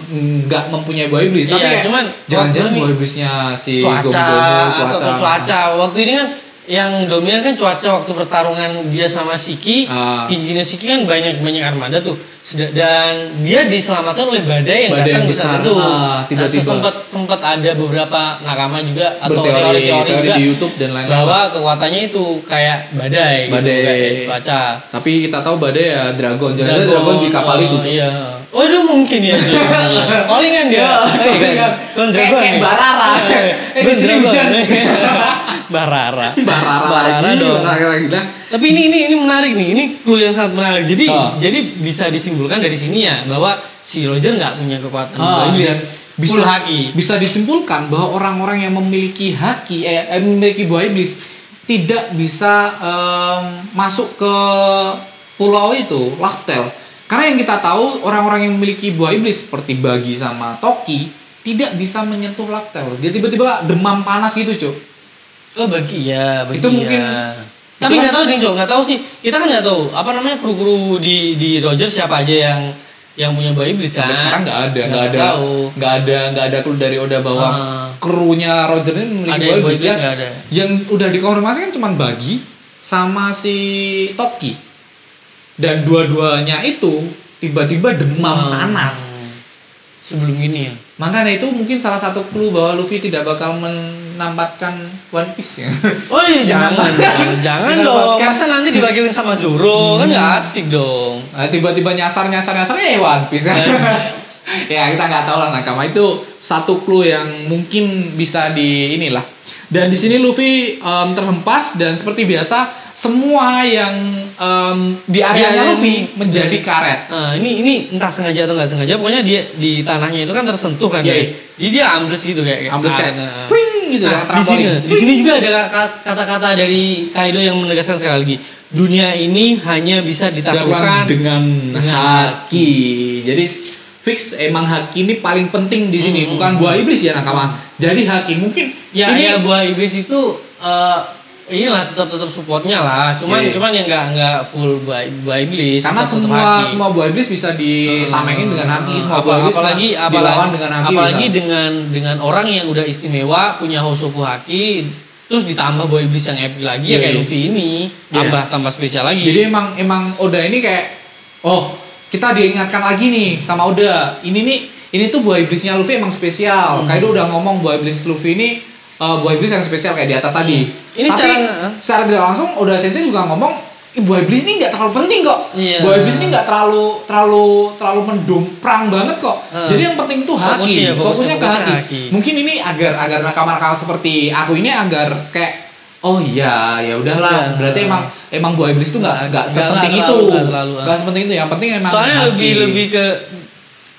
S3: nggak mempunyai buah iblis. Tapi
S2: Iya,
S3: kayak,
S2: cuman
S3: jangan-jangan
S2: waktu ini-
S3: buah iblisnya si Gomu
S2: cuaca,
S3: Gomu,
S2: atau cuaca. Waktu ini kan yang dominan kan cuaca waktu pertarungan dia sama Siki,
S3: Ah.
S2: Kinjino Siki kan banyak banyak armada tuh, Seda- dan dia diselamatkan oleh badai yang
S3: Badai yang
S2: datang di
S3: besar.
S2: sana tuh.
S3: Ah, tiba-tiba.
S2: sempat sempat ada beberapa nakama juga atau teori-teori
S3: Berteori- teori
S2: juga
S3: di YouTube dan lain-lain.
S2: bahwa kekuatannya itu kayak badai, gitu,
S3: Badai.
S2: kayak cuaca.
S3: Tapi kita tahu badai ya dragon. Jangan-jangan dragon, di kapal
S2: oh,
S3: itu. Cuk.
S2: Iya. Oh, itu mungkin ya. sih. Callingan dia. Iya, Kan
S3: Callingan. Iya. Kayak-
S2: dragon.
S3: kayak
S2: ya.
S3: Barara. Eh, di sini
S2: Dragon. ya.
S3: hujan.
S2: iya. Barara.
S3: Barara lagi,
S2: dong.
S3: barara lagi Nah, lah.
S2: Tapi ini ini ini menarik nih. Ini clue yang sangat menarik. Jadi
S3: Ah.
S2: jadi bisa disimpulkan dari sini ya bahwa si Roger nggak punya kekuatan
S3: Ah,
S2: Iblis.
S3: dan bisa
S2: Full haki.
S3: bisa disimpulkan bahwa orang-orang yang memiliki haki eh, eh, memiliki buah iblis tidak bisa em, masuk ke pulau itu Laxtel karena yang kita tahu orang-orang yang memiliki buah iblis seperti Bagi sama Toki tidak bisa menyentuh Laxtel dia tiba-tiba demam panas gitu cuk
S2: Oh bagi ya, bagi
S3: Itu mungkin-
S2: ya. Tapi
S3: itu
S2: nggak
S3: kan-
S2: tahu nih, Jo, nggak tahu sih. Kita kan nggak tahu apa namanya kru-kru di di Rogers siapa aja yang yang punya bayi iblis kan.
S3: Sampai sekarang nggak ada nggak ada
S2: tahu.
S3: nggak ada nggak ada clue dari Oda bahwa
S2: Ah.
S3: krunya Roger ini memiliki
S2: Ada
S3: buah
S2: yang boy
S3: iblis
S2: iblis
S3: ya.
S2: nggak ada.
S3: yang udah dikonfirmasi kan cuma Bagi sama si Toki dan dua-duanya itu tiba-tiba demam
S2: Hmm.
S3: panas
S2: Sebelum ini ya.
S3: makanya itu mungkin salah satu clue bahwa Luffy tidak bakal men- menamatkan One Piece ya.
S2: Oh iya jangan, jangan, jangan
S3: Kita
S2: dong.
S3: podcast.
S2: Masa nanti diwakilin sama Zoro kan nggak asik dong.
S3: Nah, tiba-tiba nyasar nyasar nyasar ya One Piece kan.
S2: Iya.
S3: ya kita nggak tahu lah nakama itu satu clue yang mungkin bisa di inilah. Dan di sini Luffy em, terhempas dan seperti biasa semua yang em,
S2: Di
S3: di
S2: area
S3: areanya Luffy
S2: ini.
S3: menjadi karet.
S2: Nah, ini ini entah sengaja atau nggak sengaja, pokoknya dia di tanahnya itu kan tersentuh kan.
S3: Iya,
S2: ya.
S3: iya.
S2: Jadi dia ambles gitu kayak.
S3: Ambles kayak
S2: Nah, nah.
S3: pring gitu
S2: Nah,
S3: ya,
S2: di sini,
S3: trampolin.
S2: di sini juga ada ka- kata-kata dari Kaido yang menegaskan sekali lagi, dunia ini hanya bisa
S3: Dilakukan
S2: ditaklukkan
S3: dengan
S2: dengan
S3: haki. Jadi fix emang haki ini paling penting di sini,
S2: Hmm.
S3: bukan buah iblis ya nakama. Jadi haki mungkin
S2: ya
S3: ini
S2: ya buah iblis itu eh inilah tetap tetap supportnya lah cuman
S3: Iya, iya.
S2: cuman yang nggak nggak full buah, buah iblis
S3: karena
S2: tetap- tetap
S3: semua
S2: haki.
S3: semua buah iblis bisa ditamekin dengan haki,
S2: Hmm,
S3: semua
S2: apa-
S3: buah iblis
S2: apalagi
S3: bisa dilawan
S2: apalagi
S3: dengan haki.
S2: apalagi
S3: bisa.
S2: dengan dengan orang yang udah istimewa punya hosoku haki terus ditambah buah iblis yang epic lagi
S3: Iya,
S2: ya kayak
S3: iya.
S2: Luffy ini
S3: Iya.
S2: tambah tambah spesial lagi
S3: Jadi emang emang Oda ini kayak oh, kita diingatkan lagi nih sama Oda. Ini nih ini tuh buah iblisnya Luffy emang spesial.
S2: Hmm.
S3: Kaido udah ngomong buah iblis Luffy ini eh, buah iblis yang spesial kayak di atas tadi.
S2: Hmm. Ini
S3: Tapi
S2: secara-
S3: secara tidak langsung Oda Sensei juga ngomong "Ih, buah iblis ini nggak terlalu penting kok.
S2: Iya.
S3: Buah iblis ini nggak terlalu terlalu terlalu mendumprang banget kok.
S2: Hmm.
S3: Jadi yang penting tuh haki.
S2: Fokusnya-
S3: Fokusnya,
S2: fokusnya-
S3: ke
S2: fokusnya
S3: haki.
S2: haki.
S3: Mungkin ini agar agar nakama-nakama seperti aku ini agar kayak oh iya ya
S2: Iya.
S3: udahlah. Berarti emang emang buah iblis itu nggak nggak
S2: Nggak
S3: sepenting
S2: terlalu-
S3: itu
S2: nggak terlalu, ah.
S3: nggak sepenting itu yang penting emang
S2: soalnya
S3: hati.
S2: lebih lebih ke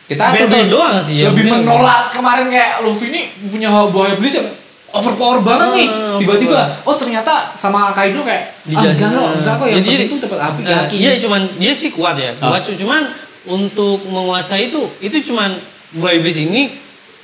S3: kita
S2: battle
S3: lebih,
S2: doang sih ya
S3: lebih
S2: mungkin.
S3: menolak kemarin kayak Luffy ini punya buah iblis yang overpower banget
S2: Ah,
S3: nih
S2: overpower.
S3: tiba-tiba oh ternyata sama Kaido kayak ah,
S2: Dijelasin.
S3: enggak loh enggak kok yang
S2: Jadi-
S3: penting itu dapat haki
S2: Nah,
S3: haki
S2: iya cuman dia sih kuat ya.
S3: Ah.
S2: Kuat cu- cuman untuk menguasai itu itu cuman buah iblis ini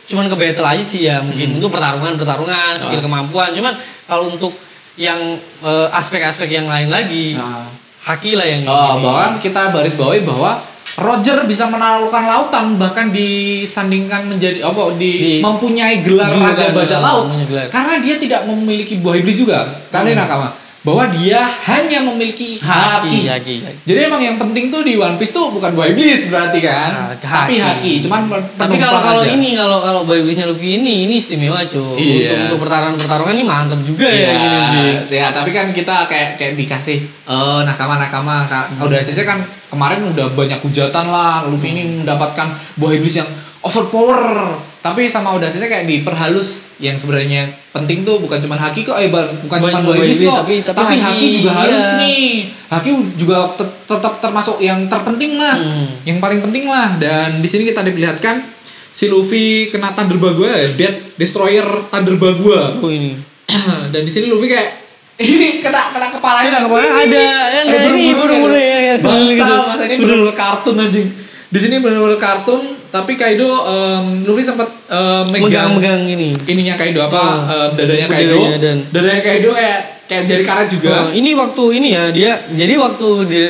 S2: cuman ke battle aja sih ya mungkin untuk pertarungan pertarungan skill
S3: Hmm. Ah.
S2: kemampuan cuman kalau untuk yang eh, aspek-aspek yang lain lagi
S3: nah,
S2: haki lah yang
S3: oh,
S2: ini.
S3: bahkan kita baris bawahi bahwa Roger bisa menaklukkan lautan bahkan disandingkan menjadi apa
S2: Di-
S3: di, mempunyai gelar
S2: Juga kan,
S3: raja bajak laut
S2: punya gelar.
S3: karena dia tidak memiliki buah iblis juga
S2: Hmm.
S3: karena ini nakama bahwa dia hanya memiliki
S2: haki
S3: haki.
S2: haki, haki.
S3: Jadi emang yang penting tuh di One Piece tuh bukan buah iblis
S2: Ah,
S3: berarti kan,
S2: haki.
S3: tapi haki. Cuman
S2: Tapi
S3: penumpang
S2: kalau kalau
S3: aja.
S2: ini kalau kalau buah iblisnya Luffy ini ini istimewa cuy.
S3: Iya.
S2: Untuk, untuk pertarungan pertarungan ini mantap juga ya.
S3: Iya,
S2: ini, Luffy.
S3: ya, tapi kan kita kayak kayak dikasih eh nakama-nakama Ka-
S2: Hmm.
S3: udah saja kan kemarin udah banyak hujatan lah Luffy ini mendapatkan buah iblis yang overpower tapi sama udah saja kayak diperhalus yang sebenarnya penting tuh bukan cuma haki kok eh ba- bukan
S2: Bukan
S3: cuma buah iblis kok tapi,
S2: tapi
S3: haki,
S2: haki,
S3: juga
S2: iya.
S3: harus nih haki juga te- tetap termasuk yang terpenting lah
S2: Hmm.
S3: yang paling penting lah dan di sini kita diperlihatkan si Luffy kena Thunder Bagua ya, Dead Destroyer Thunder Bagua
S2: Oh, ini.
S3: dan di sini Luffy kayak ini Iya, kena kena kepalanya
S2: Kena kepalanya, ada, ya, ada, ini buru-buru ya, ya,
S3: bangsa
S2: gitu.
S3: masa ini bener-bener kartun anjing di sini bener-bener kartun tapi Kaido em, Luffy sempat em, megang
S2: Megang-megang ini.
S3: ininya Kaido apa
S2: Hmm.
S3: em, dadanya Kaido
S2: Dadanya, dan-
S3: dadanya Kaido kayak kayak jari karet juga
S2: Oh, ini waktu ini ya dia jadi waktu di,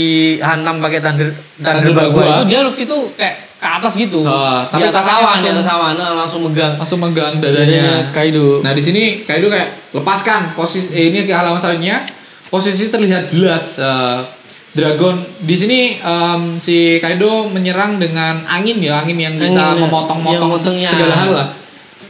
S2: dihantam pakai thunder thunder
S3: Thunder
S2: bagua
S3: Bagua.
S2: itu dia Luffy tuh kayak ke atas gitu.
S3: Oh,
S2: di
S3: tapi
S2: atas
S3: tangannya
S2: awan, di
S3: langsung-
S2: atas awan nah, langsung megang
S3: langsung megang
S2: dadanya
S3: dadanya
S2: Kaido.
S3: Nah di sini Kaido kayak lepaskan posisi eh, ini ke halaman selanjutnya posisi terlihat jelas eh, dragon di sini em, si Kaido menyerang dengan angin ya angin yang bisa
S2: Angin, ya. Yang
S3: memotong-motong
S2: motongnya.
S3: segala hal lah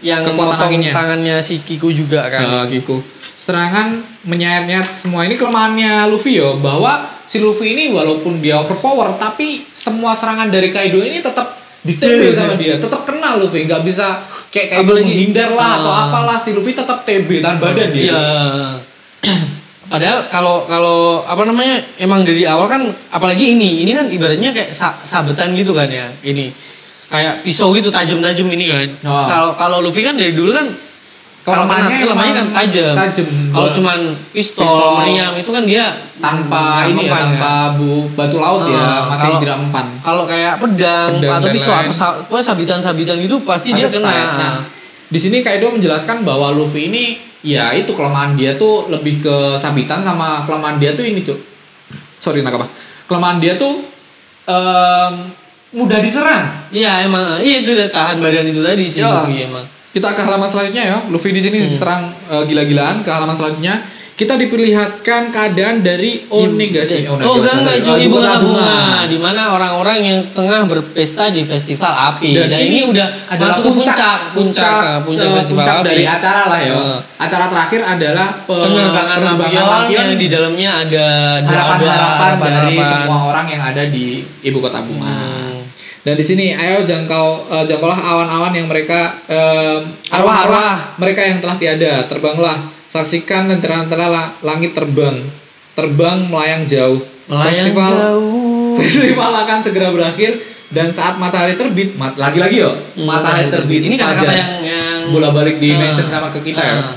S2: yang
S3: kekuatan
S2: motong
S3: anginnya.
S2: tangannya si Kiku juga kan.
S3: Eh, Kiku. Serangan menyayat-nyayat semua ini kelemahannya Luffy ya bahwa si Luffy ini walaupun dia overpower tapi semua serangan dari Kaido ini tetap ditebel sama dia tetap kena Luffy nggak bisa kayak Kaido
S2: Iya, Apalagi-
S3: menghindar lah atau
S2: Ah.
S3: apalah si Luffy tetap TB tahan badan dia.
S2: Iya. Padahal kalau kalau apa namanya emang dari awal kan apalagi ini ini kan ibaratnya kayak sa- sabetan gitu kan ya ini kayak pisau gitu tajam-tajam ini kan.
S3: Oh.
S2: Kalau kalau Luffy kan dari dulu kan Kelemahannya
S3: kelemahannya
S2: kelemahannya kan
S3: emang
S2: tajam.
S3: tajam.
S2: Kalau cuman pistol,
S3: Pistol.
S2: meriam itu kan dia kan.
S3: tanpa
S2: nggak
S3: ini ya
S2: mempan,
S3: tanpa bu batu laut ya
S2: Ah,
S3: masih
S2: kalau-
S3: tidak mempan
S2: kan? Kalau kayak pedang,
S3: Pedang
S2: atau
S3: dan
S2: pisau
S3: lain.
S2: atau sa- pokoknya sabitan-sabitan gitu pasti dia
S3: Ada nah.
S2: kena.
S3: sayapnya. di sini Kaido menjelaskan bahwa Luffy ini ya itu kelemahan dia tuh lebih ke sabitan sama kelemahan dia tuh ini cuk sorry nakama kelemahan dia tuh em, mudah diserang
S2: Iya emang, iya itu udah tahan badan itu tadi sih
S3: Iya.
S2: Luffy emang.
S3: kita ke halaman selanjutnya ya Luffy di sini diserang eh, gila-gilaan ke halaman selanjutnya kita diperlihatkan keadaan dari onegasi.
S2: Oh enggak enggak
S3: Oh,
S2: cuy ibu
S3: kota
S2: kota bunga
S3: bunga.
S2: di mana orang-orang yang tengah berpesta di festival api dan,
S3: Dan
S2: ini,
S3: ini
S2: udah
S3: adalah
S2: masuk ke puncak puncak puncak,
S3: puncak,
S2: puncak, puncak
S3: eh,
S2: festival
S3: puncak
S2: api
S3: dari acara lah ya.
S2: Heeh.
S3: Acara terakhir adalah pe-
S2: penerbangan
S3: penerbangan
S2: lampion yang
S3: lampion
S2: di dalamnya ada
S3: harapan-harapan
S2: doa-doa,
S3: dari
S2: harapan-harapan.
S3: semua orang yang ada di ibu kota bunga.
S2: Hmm.
S3: Dan di sini ayo jangkau eh, jangkaulah awan-awan yang mereka em, arwah-arwah mereka yang telah tiada, terbanglah, saksikan lentera-lentera la- langit terbang, terbang melayang jauh.
S2: melayang
S3: festival,
S2: jauh
S3: festival akan segera berakhir dan saat matahari terbit, mat- lagi-lagi yo, matahari terbit. kan
S2: ini kata-kata
S3: fajar.
S2: yang, yang
S3: bola balik di
S2: Ah.
S3: mention sama ke kita ya
S2: Ah.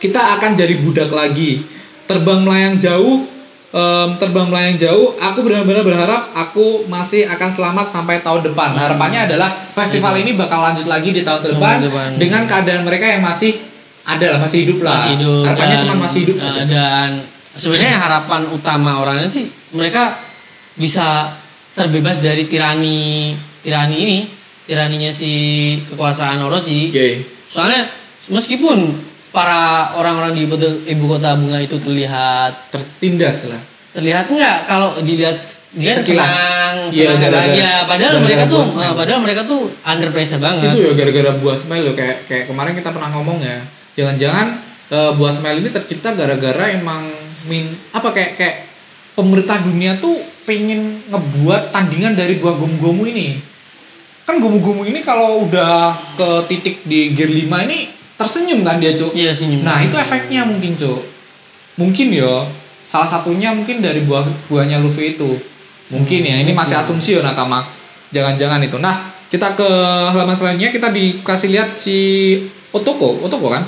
S3: kita akan jadi budak lagi. Terbang melayang jauh, em, terbang melayang jauh. Aku benar-benar berharap aku masih akan selamat sampai tahun depan. Harapannya adalah festival ini bakal lanjut lagi di
S2: Hmm.
S3: tahun
S2: Tahun
S3: depan,
S2: depan.
S3: dengan keadaan mereka yang masih ada lah, masih hidup lah.
S2: masih hidup
S3: Nah, Harapannya
S2: dan-
S3: cuma masih hidup gitu.
S2: eh,
S3: aja.
S2: dan sebenarnya harapan utama orangnya sih mereka bisa terbebas dari tirani tirani ini tiraninya si kekuasaan Orochi
S3: Oke.
S2: soalnya meskipun para orang-orang di ibu, ibu kota bunga itu terlihat
S3: Tertindas lah.
S2: terlihat nggak kalau dilihat dia
S3: Sekilas.
S2: senang
S3: Iya,
S2: senang
S3: gara-gara-
S2: bahagia padahal
S3: gara-gara
S2: mereka tuh
S3: bosnya.
S2: eh, padahal mereka tuh under pressure banget
S3: Itu ya gara-gara buah smile loh kayak kayak kemarin kita pernah ngomong ya. Jangan-jangan eh, buah smile ini tercipta gara-gara emang min apa kayak kayak pemerintah dunia tuh pengen ngebuat tandingan dari buah gomu-gomu ini. Kan gomu-gomu ini kalau udah ke titik di gear 5 ini tersenyum kan dia, Cuk?
S2: Iya senyum.
S3: Nah, itu efeknya mungkin, Cuk. Mungkin ya. Salah satunya mungkin dari buah buahnya Luffy itu. Mungkin
S2: Hmm,
S3: ya, ini masih asumsi ya nakama. Jangan-jangan itu. Nah, kita ke halaman selanjutnya kita dikasih lihat si Otoko, Otoko kan?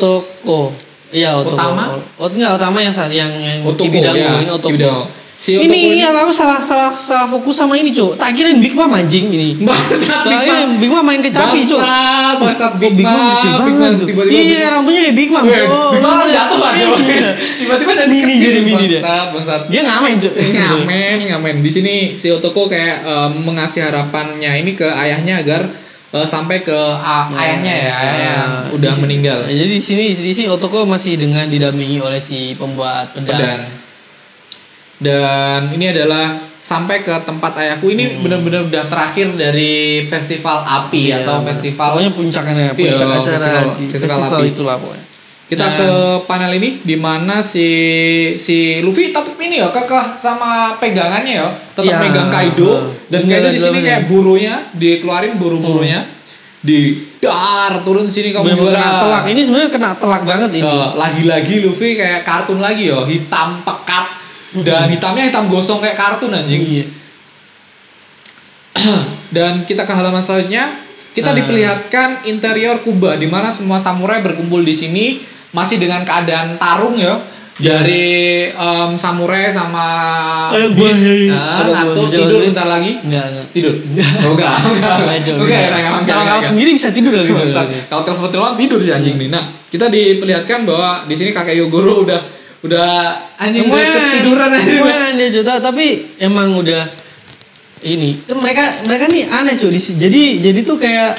S2: Otoko. Iya, Otoko.
S3: Utama?
S2: Ot enggak utama yang saat yang yang
S3: Otoko
S2: Ibidango,
S3: ya.
S2: Hmm, ini Otoko.
S3: Ibidango. Si
S2: Ini, iya. ini,
S3: Otoko
S2: aku salah salah salah fokus sama ini, Cuk. Tak kirain Big Mom anjing ini.
S3: Bangsat Big
S2: Tak
S3: Mom.
S2: kirain Big Mom main kecapi, iya, Cuk.
S3: Bangsat, bangsat Big
S2: Big Mom
S3: Mom.
S2: kecil
S3: Big Mom
S2: banget. tuh.
S3: tiba-tiba.
S2: Iya, rambutnya kayak Big Mom.
S3: Weh,
S2: Cuk.
S3: Big Mom jatuh kan?
S2: Iya.
S3: Tiba-tiba dari
S2: Mini
S3: kecil,
S2: jadi mini dia.
S3: Bangsat, bangsat.
S2: Dia ngamen, Cuk. Iya.
S3: ngamen ngamen di sini si Otoko kayak eh, mengasih harapannya ini ke ayahnya agar eh, sampai ke
S2: Iya,
S3: a- ayahnya ya yang udah
S2: Nah,
S3: meninggal
S2: Iya. Jadi di sini di sini Otoko masih dengan didampingi oleh si pembuat
S3: dan
S2: pedang.
S3: dan ini adalah sampai ke tempat ayahku
S2: Hmm.
S3: ini benar-benar udah terakhir dari festival api
S2: Iya,
S3: atau
S2: bener.
S3: festival
S2: pokoknya puncaknya
S3: Iya,
S2: puncak acara
S3: festival-
S2: di
S3: festival
S2: festival,
S3: api.
S2: itulah pokoknya.
S3: kita
S2: Dan-
S3: ke panel ini di mana si si Luffy tetap ini ya kekeh sama pegangannya ya tetap
S2: Iya.
S3: megang Kaido dan
S2: Bener,
S3: Kaido di sini
S2: bener.
S3: kayak burunya dikeluarin buru-burunya
S2: Hmm.
S3: di dar turun sini kamu
S2: Bener-bener kena
S3: juara
S2: telak. Ini sebenarnya kena telak banget ini.
S3: Eh, lagi-lagi Luffy kayak kartun lagi ya hitam pekat dan hitamnya hitam gosong kayak kartun anjing
S2: Iya.
S3: Hmm, Dan kita ke halaman selanjutnya, kita
S2: Ah.
S3: diperlihatkan interior Kuba di mana semua samurai berkumpul di sini masih dengan keadaan tarung ya. Dari em, samurai sama
S2: Iya. Eh,
S3: Ah, bis.
S2: gua-
S3: Nah,
S2: aduh, gua
S3: atau
S2: bisa
S3: tidur
S2: bis.
S3: bentar lagi.
S2: Enggak, enggak.
S3: Tidur. Oh, enggak. Enggak.
S2: Ngaco,
S3: Oke,
S2: enggak.
S3: enggak, enggak,
S2: Kalau
S3: enggak.
S2: kamu sendiri bisa tidur lagi.
S3: Bangsat. Kalau telepon telepon tidur sih anjing
S2: Iya.
S3: nih. Nah, kita diperlihatkan bahwa di sini kakek Yogoro udah udah anjing
S2: Semua
S3: udah ketiduran anjing.
S2: Semua dia juta tapi emang udah ini. Kan Mereka mereka nih aneh cuy. Di- Jadi jadi tuh kayak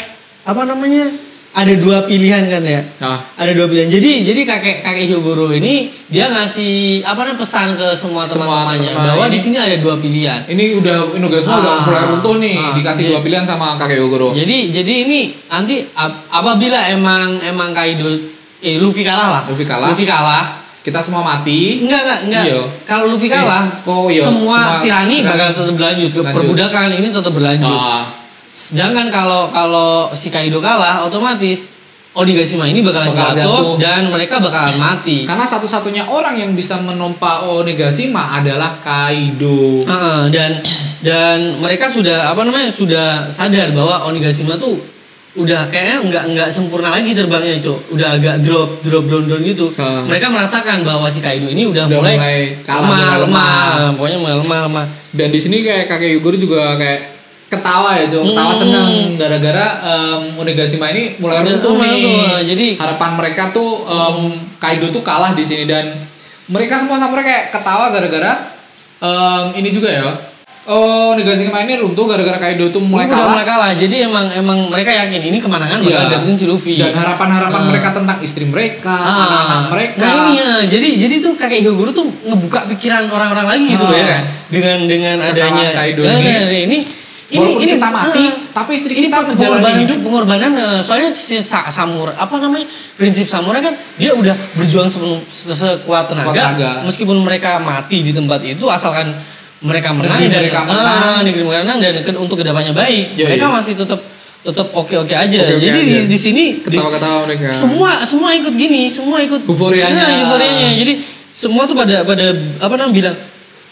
S2: apa namanya? Ada dua pilihan kan ya.
S3: Nah,
S2: Ada dua pilihan. Jadi jadi kakek kakek Hyogoro ini dia ngasih apa namanya pesan ke semua
S3: Semua
S2: teman-temannya
S3: teman-teman
S2: bahwa
S3: ini.
S2: di sini ada dua pilihan.
S3: ini udah ini guys, udah
S2: Ah.
S3: mulai runtuh nih
S2: Ah,
S3: dikasih
S2: iya.
S3: dua pilihan sama kakek Yogoro.
S2: Jadi jadi ini nanti ap- apabila emang emang Kaido eh Luffy kalah lah.
S3: Luffy kalah.
S2: Luffy kalah.
S3: kita semua mati
S2: Enggak, enggak, enggak.
S3: Iya.
S2: Kalau Luffy kalah,
S3: Eh, kok iya?
S2: semua
S3: Semua
S2: tirani
S3: tirani
S2: bakal tetap berlanjut.
S3: berlanjut.
S2: Perbudakan ini tetap berlanjut.
S3: Ah,
S2: Sedangkan kalau kalau si Kaido kalah, otomatis Onigashima ini bakalan
S3: Bakal
S2: jatuh,
S3: jatuh.
S2: dan mereka bakalan mati.
S3: karena satu-satunya orang yang bisa menompa Onigashima adalah Kaido
S2: Heeh, dan dan mereka sudah apa namanya sudah sadar bahwa Onigashima tuh udah kayaknya nggak nggak sempurna lagi terbangnya cok udah agak drop drop down down gitu
S3: Heeh.
S2: mereka merasakan bahwa si Kaido ini udah,
S3: Udah
S2: mulai,
S3: mulai
S2: lemah,
S3: kalah, mulai lemah.
S2: lemah. pokoknya mulai lemah lemah
S3: dan di sini kayak kakek Yogoro juga kayak ketawa ya Jo ketawa
S2: Hmm.
S3: senang gara-gara em, Onigashima ini mulai
S2: Udah
S3: runtuh
S2: lemah,
S3: nih
S2: lemah. eh, jadi
S3: harapan mereka tuh em, Kaido tuh kalah di sini dan mereka semua samurai kayak ketawa gara-gara em, ini juga ya Oh, negasi kemarin ini runtuh gara-gara Kaido tuh mulai
S2: Udah
S3: kalah.
S2: mulai kalah. Jadi emang emang mereka yakin ini kemenangan
S3: Iya.
S2: bakal dapetin si Luffy.
S3: Dan harapan-harapan
S2: Ah.
S3: mereka tentang istri mereka,
S2: Ah.
S3: anak-anak mereka.
S2: Nah iya, jadi jadi tuh kakek Hyogoro tuh ngebuka pikiran orang-orang lagi gitu
S3: Ah.
S2: ya kan. Dengan dengan
S3: Kekalahan
S2: adanya
S3: Kaido
S2: Nah,
S3: ini.
S2: nah, nah, ini eh, Ah.
S3: Walaupun kita mati, tapi istri
S2: ini
S3: kita
S2: per-
S3: menjalani
S2: pengorbanan
S3: hidup.
S2: hidup, pengorbanan eh, soalnya si sa- samurai apa namanya? prinsip samurai kan dia udah berjuang sebelum se- sekuat tenaga,
S3: Sekuat tenaga.
S2: meskipun mereka mati di tempat itu asalkan mereka menang
S3: Negeri
S2: dan
S3: mereka
S2: ah,
S3: menang.
S2: negeri menang dan ke- untuk kedepannya baik.
S3: Iya,
S2: mereka
S3: iya.
S2: masih tetap tetap oke-oke aja.
S3: Oke-oke
S2: jadi di-
S3: aja.
S2: Di, sini di-
S3: Ketawa-ketawa mereka.
S2: semua semua ikut gini semua ikut
S3: Ya. Euforianya.
S2: Nah, euforianya. jadi semua tuh pada pada apa namanya bilang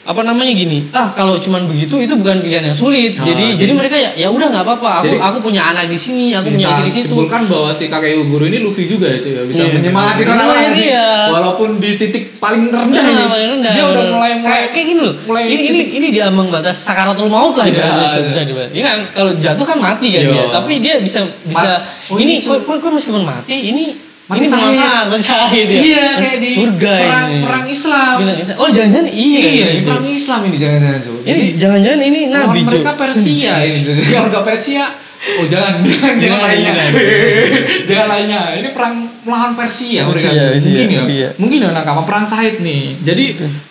S2: apa namanya gini ah kalau cuman begitu itu bukan pilihan yang sulit
S3: Ah,
S2: jadi
S3: jadi-
S2: jadi mereka ya ya udah nggak apa-apa aku
S3: Jadi- Iya,
S2: aku punya anak di sini aku punya
S3: kita
S2: istri di situ
S3: simpulkan bahwa si kakek guru ini Luffy juga ya cuy ya. bisa
S2: Iya.
S3: menyemangati orang lain
S2: Iya.
S3: walaupun di titik paling rendah
S2: Nah,
S3: ini
S2: paling rendah.
S3: dia udah mulai mulai
S2: kayak, kayak gini loh
S3: mulai
S2: ini ini
S3: titik-
S2: ini di ambang batas sakaratul maut lah
S3: Iya,
S2: ibaratnya,
S3: iya.
S2: bisa dibilang. ini kan kalau jatuh kan mati kan
S3: Iya.
S2: dia tapi dia bisa bisa
S3: oh,
S2: ini
S3: ini cuma-
S2: kok kok meskipun mati ini
S3: Mati
S2: ini
S3: sahid.
S2: bermanfaat, mati sahid ya.
S3: iya kayak di
S2: surga
S3: perang,
S2: ini.
S3: perang Islam
S2: Bilang, oh jangan-jangan iya,
S3: iya
S2: gitu.
S3: di perang Islam ini jangan-jangan cuy
S2: Ini jangan-jangan ini
S3: lawan
S2: nabi
S3: mereka
S2: Cuk.
S3: Persia
S2: iya.
S3: ini warga Persia oh jangan jangan jangan
S2: Jangan,
S3: lainnya
S2: jangan.
S3: jangan lainnya ini perang melawan Persia mereka
S2: iya. Persia, Persia,
S3: mungkin ya
S2: iya.
S3: mungkin ya nakama perang Said nih jadi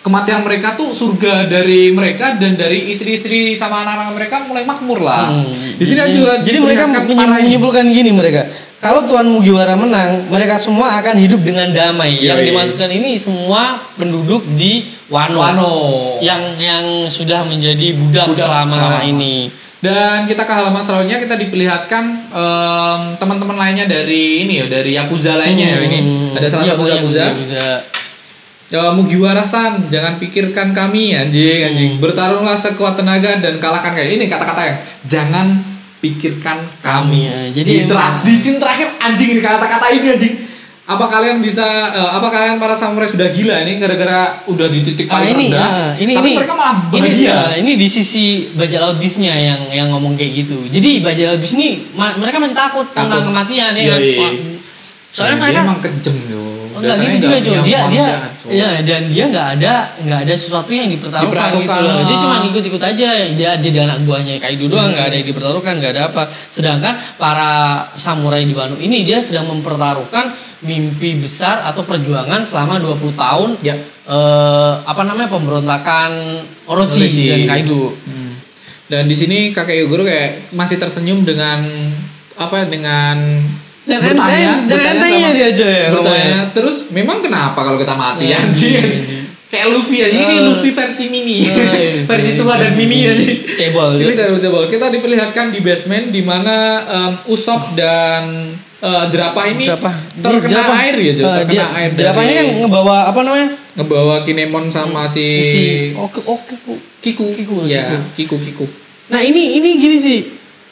S3: kematian mereka tuh surga dari mereka dan dari istri-istri sama anak-anak mereka mulai makmur lah
S2: Hmm.
S3: di sini
S2: Jadi-
S3: juga
S2: jadi mereka menyi- menyimpulkan gini mereka. Kalau Tuan Mugiwara menang, mereka semua akan hidup dengan damai. Yang
S3: Yoi.
S2: dimaksudkan ini semua penduduk di Wano.
S3: Wano
S2: Yang yang sudah menjadi budak,
S3: Budak Ah.
S2: selama
S3: selama.
S2: ini.
S3: Dan kita ke halaman selanjutnya kita diperlihatkan em, teman-teman lainnya dari ini ya dari yakuza lainnya ya ini.
S2: Hmm.
S3: Ada salah
S2: Iya,
S3: satu yakuza. Ya, Mugiwara-san, jangan pikirkan kami
S2: Hmm.
S3: anjing anjing. Bertarunglah sekuat tenaga dan kalahkan kayak ini kata-kata yang jangan pikirkan kami.
S2: Kami, ya. Jadi
S3: di, tera-
S2: emang-
S3: di scene terakhir anjing ini kata-kata ini anjing. Apa kalian bisa eh, apa kalian para samurai sudah gila ini gara-gara udah di titik
S2: Ah,
S3: paling
S2: ini,
S3: rendah.
S2: ah, ini,
S3: tapi
S2: ini,
S3: mereka malah
S2: ini,
S3: bahagia.
S2: ah, ini di sisi bajak laut bisnya yang yang ngomong kayak gitu. Jadi bajak laut bis ini ma- mereka masih takut, tentang
S3: Takut. Iya,
S2: kematian ya.
S3: Yoi.
S2: Wah, Soalnya
S3: Nah,
S2: mereka
S3: dia emang kejam tuh.
S2: enggak gitu juga cuy. Dia dia
S3: kan,
S2: ya dan dia nggak ada nggak ada sesuatu yang dipertaruhkan
S3: Dipertaruhkan,
S2: gitu loh. Dia
S3: ah.
S2: cuma ikut-ikut aja. Dia jadi anak buahnya Kaido doang nggak ada yang dipertaruhkan, nggak ada apa. Sedangkan para samurai di Wano ini dia sedang mempertaruhkan mimpi besar atau perjuangan selama 20 tahun
S3: Ya.
S2: eh, apa namanya pemberontakan Orochi,
S3: Orochi.
S2: dan Kaido.
S3: Hmm. Dan di sini kakek guru kayak masih tersenyum dengan apa dengan
S2: Dan enteng- dan entengnya
S3: sama-
S2: dia aja ya
S3: bertanya,
S2: ngomongnya.
S3: terus memang kenapa kalau kita mati
S2: Iya,
S3: anjing?
S2: iya,
S3: kayak Luffy aja ini
S2: Eh.
S3: Luffy versi mini
S2: Eh,
S3: versi tua dan
S2: versi
S3: mini
S2: mini.
S3: aja
S2: Cebol, gitu.
S3: ini saya coba kita diperlihatkan di basement di mana em, Usopp dan eh, jerapah ini
S2: Jerapah.
S3: terkena
S2: Jerapah.
S3: air ya Jo?
S2: Eh,
S3: terkena
S2: dia-
S3: air
S2: jerapah ini
S3: dari-
S2: kan ngebawa apa namanya?
S3: ngebawa Kinemon sama
S2: Hmm.
S3: si,
S2: Si oke oke.
S3: Kiku.
S2: Kiku,
S3: ya Kiku Kiku
S2: Nah ini ini gini sih.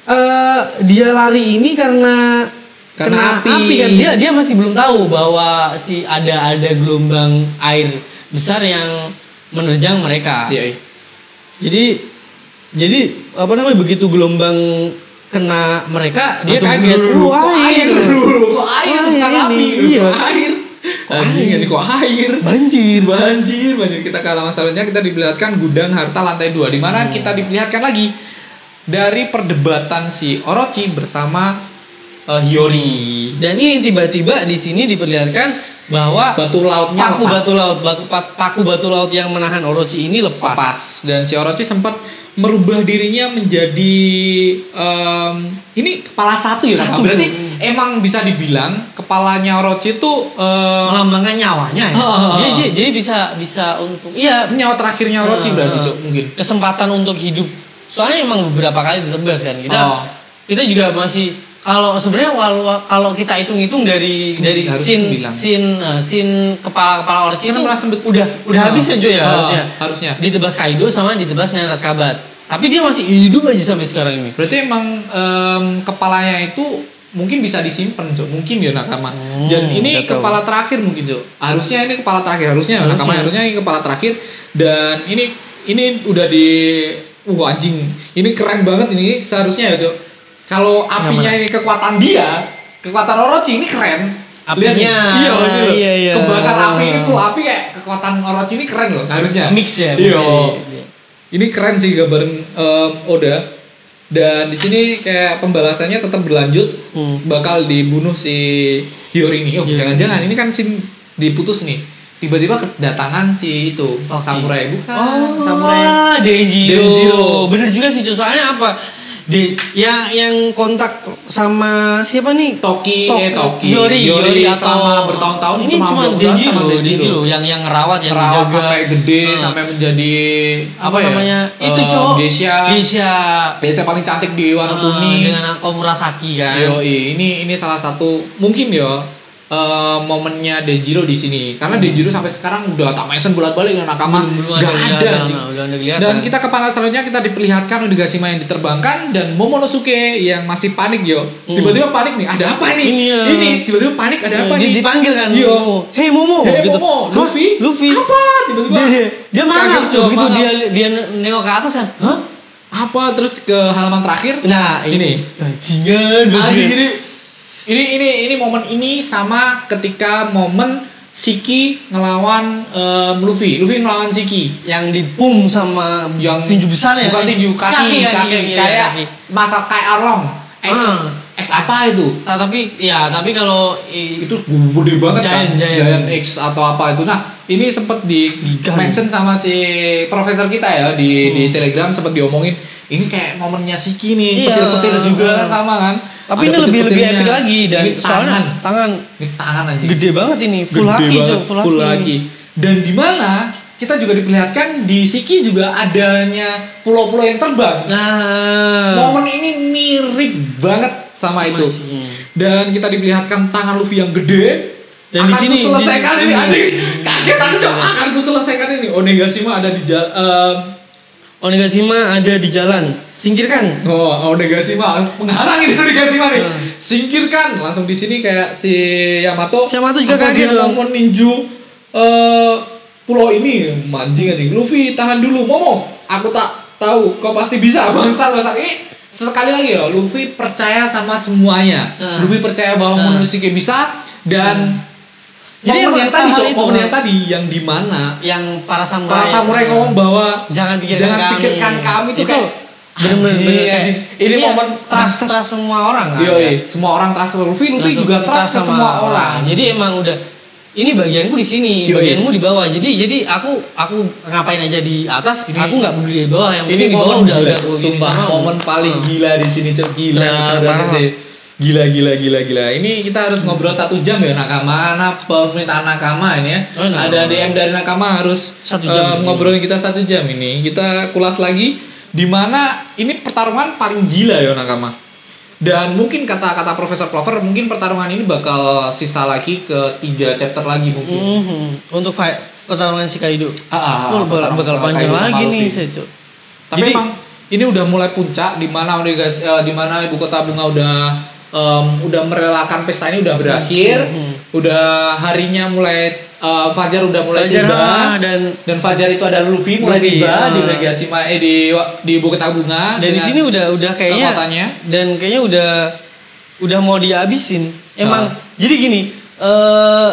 S2: Eh dia lari ini karena
S3: Karena api.
S2: kan dia dia masih belum tahu bahwa si ada ada gelombang air besar yang menerjang mereka.
S3: Iya, iya.
S2: Jadi jadi apa namanya begitu gelombang kena mereka dia
S3: Langsung
S2: Iya, kaget.
S3: dulu,
S2: "Wah,
S3: kok air, dulu, kok air,
S2: Air ini,
S3: bukan api,
S2: iya.
S3: kok air, kok air, ini kok air.
S2: Banjir.
S3: Banjir, banjir. Kita ke halaman selanjutnya kita diperlihatkan gudang harta lantai 2 di
S2: Iya.
S3: mana kita diperlihatkan lagi dari perdebatan si Orochi bersama eh, Hiyori.
S2: Dan ini tiba-tiba di sini diperlihatkan bahwa
S3: Batu lautnya
S2: paku
S3: lepas.
S2: batu laut baku- pa- paku batu laut yang menahan Orochi ini lepas.
S3: Pas. Dan si Orochi sempat merubah dirinya menjadi em, ini kepala satu ya.
S2: Satu,
S3: Berarti
S2: cuy.
S3: emang bisa dibilang kepalanya Orochi itu em,
S2: melambangkan nyawanya ya.
S3: Ah, ah, ah.
S2: Jadi, jadi- jadi bisa bisa untuk iya
S3: nyawa terakhirnya Orochi
S2: Ah,
S3: berarti
S2: ah.
S3: Cuk, mungkin.
S2: kesempatan untuk hidup. Soalnya emang beberapa kali ditebas kan kita.
S3: Oh.
S2: Kita juga masih kalau sebenarnya walau- kalau kita hitung-hitung dari dari
S3: harus
S2: sin
S3: bilang.
S2: sin eh, sin kepala-kepala Orochi itu
S3: Kita merasa bet-
S2: udah udah
S3: Ah.
S2: habis ya Joy ya
S3: Ah,
S2: harusnya.
S3: harusnya.
S2: Ditebas Kaido sama ditebas Nenas Kabat. Tapi dia masih hidup aja sampai sekarang ini.
S3: Berarti emang em, kepalanya itu mungkin bisa disimpan, Cuk. Mungkin ya Nakama.
S2: Hmm,
S3: Dan ini
S2: nggak tahu.
S3: kepala terakhir mungkin, Cuk. Harusnya ini kepala terakhir, harusnya,
S2: Harusnya.
S3: Nakama harusnya ini kepala terakhir dan ini ini udah di wah anjing. Ini keren banget ini seharusnya ya, Cuk. Kalau apinya ini kekuatan dia, kekuatan Orochi ini keren. Lihat nih.
S2: Apinya,
S3: iya, gitu loh.
S2: iya, iya.
S3: Kebakar api ini full api kayak kekuatan Orochi ini keren loh harusnya.
S2: Mix ya, mix
S3: Iya.
S2: ya, iya, iya.
S3: Ini keren sih gambaran em, Oda. Dan di sini kayak pembalasannya tetap berlanjut.
S2: Hmm.
S3: Bakal dibunuh si Hiyori ini. Oh, jangan-jangan ini kan sin diputus nih. Tiba-tiba kedatangan si itu samurai bukan
S2: Oh,
S3: samurai
S2: Denjiro.
S3: Denjiro.
S2: Bener juga sih, cuy. soalnya apa? Di, yang yang kontak sama siapa nih?
S3: Toki,
S2: Tok-
S3: eh Toki,
S2: Yori, Yori
S3: yang
S2: atau-
S3: sama bertahun-tahun
S2: ini
S3: selama
S2: cuma
S3: berbulan-bulan
S2: Denjiro,
S3: sama
S2: Denjiro yang yang ngerawat yang
S3: terawat
S2: dijaga.
S3: sampai gede
S2: Hmm.
S3: sampai menjadi
S2: apa, namanya? itu
S3: Eh,
S2: cowok
S3: Geisha
S2: Geisha.
S3: Geisha paling cantik di
S2: Ah,
S3: warna kuning
S2: dengan Ako Murasaki kan.
S3: Yoi, ini ini salah satu mungkin ya eh, momennya Dejiro di sini karena Dejiro sampai sekarang udah tak mention bolak-balik dengan nakama
S2: Belum
S3: nggak ada gitu.
S2: nggak udah ada kelihatan.
S3: dan kita ke panel selanjutnya kita diperlihatkan Onigashima yang diterbangkan dan Momonosuke yang masih panik yo
S2: Hmm.
S3: tiba-tiba panik nih ada apa ini
S2: Iya.
S3: ini tiba-tiba panik ada apa
S2: Dia
S3: nih
S2: dipanggil kan
S3: Iya.
S2: Momo. Hei Momo gitu.
S3: Hei, Momo, Luffy?
S2: Hah? Luffy.
S3: apa tiba-tiba
S2: Dia dia, dia marah
S3: Kaget,
S2: cuy.
S3: coba,
S2: Begitu
S3: marah.
S2: dia dia nengok ke atas kan. Hah?
S3: apa terus ke halaman terakhir
S2: Nah, ini. Bajingan,
S3: Ah, jadi ini ini ini momen ini sama ketika momen Siki ngelawan em, Luffy, Luffy ngelawan Siki.
S2: Yang dipum sama
S3: Yang
S2: tinju besar ya.
S3: Bukan tinju kaki, kaki,
S2: kaki, iya,
S3: kayak
S2: kaki.
S3: masa kayak arong. X,
S2: Ah.
S3: X apa itu?
S2: Ah, tapi ya, tapi kalau i-
S3: Itu gede banget
S2: Giant,
S3: kan.
S2: giant.
S3: X atau apa itu. Nah, ini sempat di
S2: Giga. Hmm.
S3: mention sama si profesor kita ya di di Telegram sempat diomongin ini kayak momennya Siki nih,
S2: Iya.
S3: petir-petir juga kan sama kan.
S2: tapi ini
S3: Ada
S2: lebih lebih
S3: petir-petirnya.
S2: epic lagi dan
S3: Ini
S2: soalnya
S3: tangan.
S2: tangan
S3: Ini tangan anjing.
S2: gede banget ini full
S3: Gede
S2: haki
S3: banget,
S2: cuy, full,
S3: full
S2: haki.
S3: haki. Dan di mana kita juga diperlihatkan di Siki juga adanya pulau-pulau yang terbang.
S2: Nah,
S3: Momen ini mirip banget sama, itu.
S2: Siki.
S3: Dan kita diperlihatkan tangan Luffy yang gede.
S2: Dan di
S3: Akan
S2: sini-
S3: kuselesaikan
S2: di-
S3: ini anjing. Kaget aku coba akan kuselesaikan ini. Onegashima ada di eh, jalan.
S2: Onigashima ada di jalan, singkirkan.
S3: oh, Onegashima menghalangi dari Onegashima nih.
S2: Hmm.
S3: Singkirkan langsung di sini kayak si Yamato.
S2: Yamato juga
S3: Apa
S2: kaget
S3: dia
S2: dong.
S3: mau meninju eh, pulau ini mancing anjing Luffy tahan dulu Momo aku tak tahu kau pasti bisa bangsa bangsa ini sekali lagi ya Luffy percaya sama semuanya
S2: Hmm.
S3: Luffy percaya bahwa
S2: Hmm.
S3: manusia bisa dan
S2: Jadi
S3: momen
S2: emang
S3: yang tadi
S2: hal
S3: Cok,
S2: itu,
S3: momen
S2: Bang.
S3: yang tadi yang di mana
S2: Yang para samurai.
S3: para samurai
S2: ya.
S3: ngomong bahwa
S2: Jangan pikirkan
S3: jangan
S2: kami.
S3: pikirkan kami tuh
S2: Itu
S3: kayak
S2: bener-bener,
S3: anjing,
S2: bener-bener.
S3: anjing. ini
S2: Iya,
S3: momen
S2: trust
S3: trust
S2: trust semua orang kan.
S3: Yoi, semua orang trust Luffy, Luffy
S2: Trust-
S3: juga trust ke semua orang.
S2: Jadi emang udah ini bagianku di sini,
S3: Yoi.
S2: bagianmu di bawah. Jadi jadi aku aku ngapain aja di atas,
S3: Ini-
S2: aku nggak peduli di bawah. Yang
S3: ini
S2: penting di bawah
S3: momen
S2: udah
S3: gila,
S2: udah aku gini
S3: sumpah
S2: sama.
S3: momen paling
S2: Hmm.
S3: gila di sini cek gila
S2: Nah,
S3: kita berasa
S2: parah.
S3: sih. gila gila gila gila ini kita harus ngobrol satu jam ya nakama nah permintaan nakama ini ya
S2: Oh, nakama.
S3: ada DM dari nakama harus
S2: Satu
S3: eh,
S2: jam. ya.
S3: ngobrolin kita satu jam ini kita kulas lagi di mana ini pertarungan paling gila ya nakama dan mungkin kata-kata Profesor Clover mungkin pertarungan ini bakal sisa lagi ke tiga chapter lagi mungkin
S2: Mhm. Untuk fight pertarungan si Kaido.
S3: Ah, ah, ah,
S2: Oh, bakal,
S3: pertarungan
S2: bakal
S3: Kaido
S2: panjang
S3: sama
S2: lagi nih,
S3: Luffy.
S2: Sejo.
S3: Tapi
S2: Jadi-
S3: emang ini udah mulai puncak di mana udah guys eh, di mana ibu kota bunga udah em, udah merelakan pesta ini udah berakhir,
S2: Mhm.
S3: udah harinya mulai eh, Fajar udah mulai
S2: Belajar
S3: tiba
S2: ah, dan
S3: dan Fajar itu ada Luffy mulai
S2: Luffy,
S3: tiba di
S2: ah.
S3: Onigashima eh di di ibu kota bunga
S2: dan di sini udah udah kayaknya
S3: Nah, kekuatannya.
S2: dan kayaknya udah udah mau dihabisin emang
S3: Ah.
S2: jadi gini eh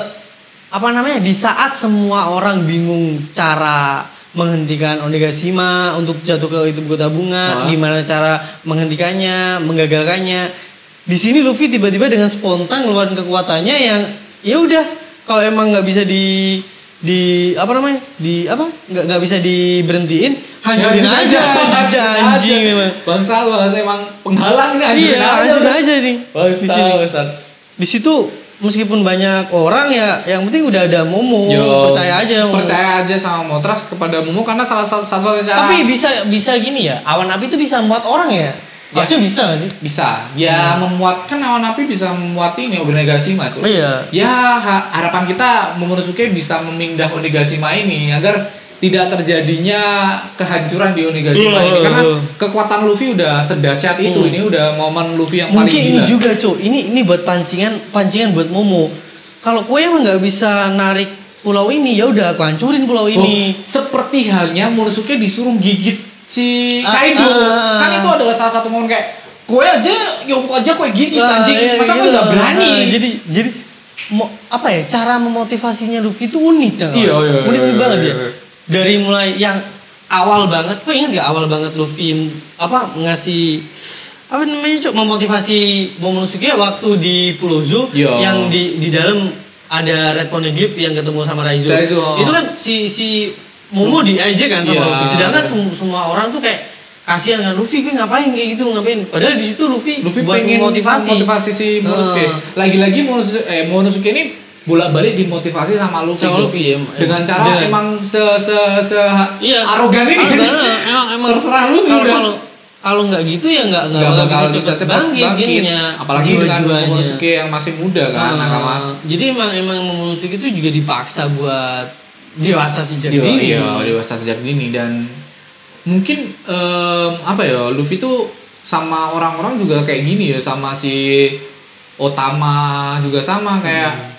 S2: apa namanya di saat semua orang bingung cara menghentikan Onigashima untuk jatuh ke itu kota bunga
S3: Ah.
S2: gimana cara menghentikannya menggagalkannya di sini Luffy tiba-tiba dengan spontan ngeluarin kekuatannya yang ya udah kalau emang nggak bisa di di apa namanya di apa nggak nggak bisa diberhentiin hancurin
S3: Hancurin
S2: aja, aja. anjing
S3: Aja.
S2: memang
S3: Bangsa bangsa emang penghalang ini
S2: Iya, lanjut aja nih. Di
S3: Bangsa,
S2: sini.
S3: bangsa.
S2: Di situ meskipun banyak orang ya, yang penting udah ada Momo,
S3: Yo,
S2: Oh, percaya aja Momo.
S3: Percaya aja sama Motras kepada Momo karena salah satu satu cara
S2: Tapi bisa bisa gini ya, awan api itu bisa muat orang ya. Harusnya bisa gak sih?
S3: bisa ya memuat kan awan api bisa memuat ini Onigashima cuy
S2: Hmm. Iya.
S3: ya ha- harapan kita Momonosuke bisa memindah Onigashima ini agar tidak terjadinya kehancuran di Onigashima
S2: Iya,
S3: ini karena
S2: iya.
S3: kekuatan Luffy udah sedahsyat itu
S2: Hmm.
S3: ini udah momen Luffy yang paling
S2: Mungkin ini
S3: gila
S2: juga, Cuk. Ini ini buat pancingan, pancingan buat Momo. Kalau kue emang nggak bisa narik pulau ini, ya udah aku hancurin pulau
S3: Oh,
S2: ini.
S3: seperti halnya Momonosuke disuruh gigit si
S2: Ah,
S3: Kaido
S2: ah.
S3: kan itu adalah salah satu momen kayak kue aja yuk aja kue gigit
S2: Ah,
S3: anjing
S2: iya,
S3: masa kue
S2: gitu.
S3: nggak berani
S2: Ah, jadi jadi mo- apa ya cara memotivasinya Luffy itu unik kan?
S3: Iya, iya, iya,
S2: unik, unik
S3: iya,
S2: banget
S3: iya,
S2: ya.
S3: iya.
S2: Dari mulai yang awal banget, kok ingat gak awal banget Luffy apa ngasih apa namanya cok memotivasi Momonosuke waktu di Pulau Zoo
S3: Yo.
S2: yang di di dalam ada Red Poneglyph yang ketemu sama Raizo.
S3: Raizo.
S2: Itu kan si si Momo diajak kan sama
S3: Iya.
S2: Luffy. Sedangkan sem- semua orang tuh kayak kasihan kan Luffy kan ngapain kayak gitu ngapain. Padahal di situ Luffy,
S3: Luffy
S2: buat
S3: pengen
S2: motivasi.
S3: motivasi si Monosuke.
S2: Heeh.
S3: Lagi-lagi Monosuke, eh, Monosuke ini bolak-balik dimotivasi sama Luffy.
S2: Sama
S3: Jo.
S2: Luffy, ya, em-
S3: Dengan cara
S2: dengan-
S3: emang se se se
S2: Iya.
S3: arogan ini.
S2: Arogan, emang emang
S3: Terserah lu,
S2: Kalau-
S3: udah.
S2: kalau- Kalau nggak gitu ya nggak
S3: Gak bakal bisa
S2: cepet
S3: cepat bangkit,
S2: gininya.
S3: apalagi dengan
S2: jiwa-jiwanya.
S3: Momonosuke yang masih muda kan,
S2: Ah,
S3: nakama.
S2: Jadi emang emang Momonosuke itu juga dipaksa buat dewasa sejak
S3: Iya,
S2: dini.
S3: iya, dewasa sejak dini dan mungkin em, apa ya Luffy tuh sama orang-orang juga kayak gini ya sama si Otama juga sama kayak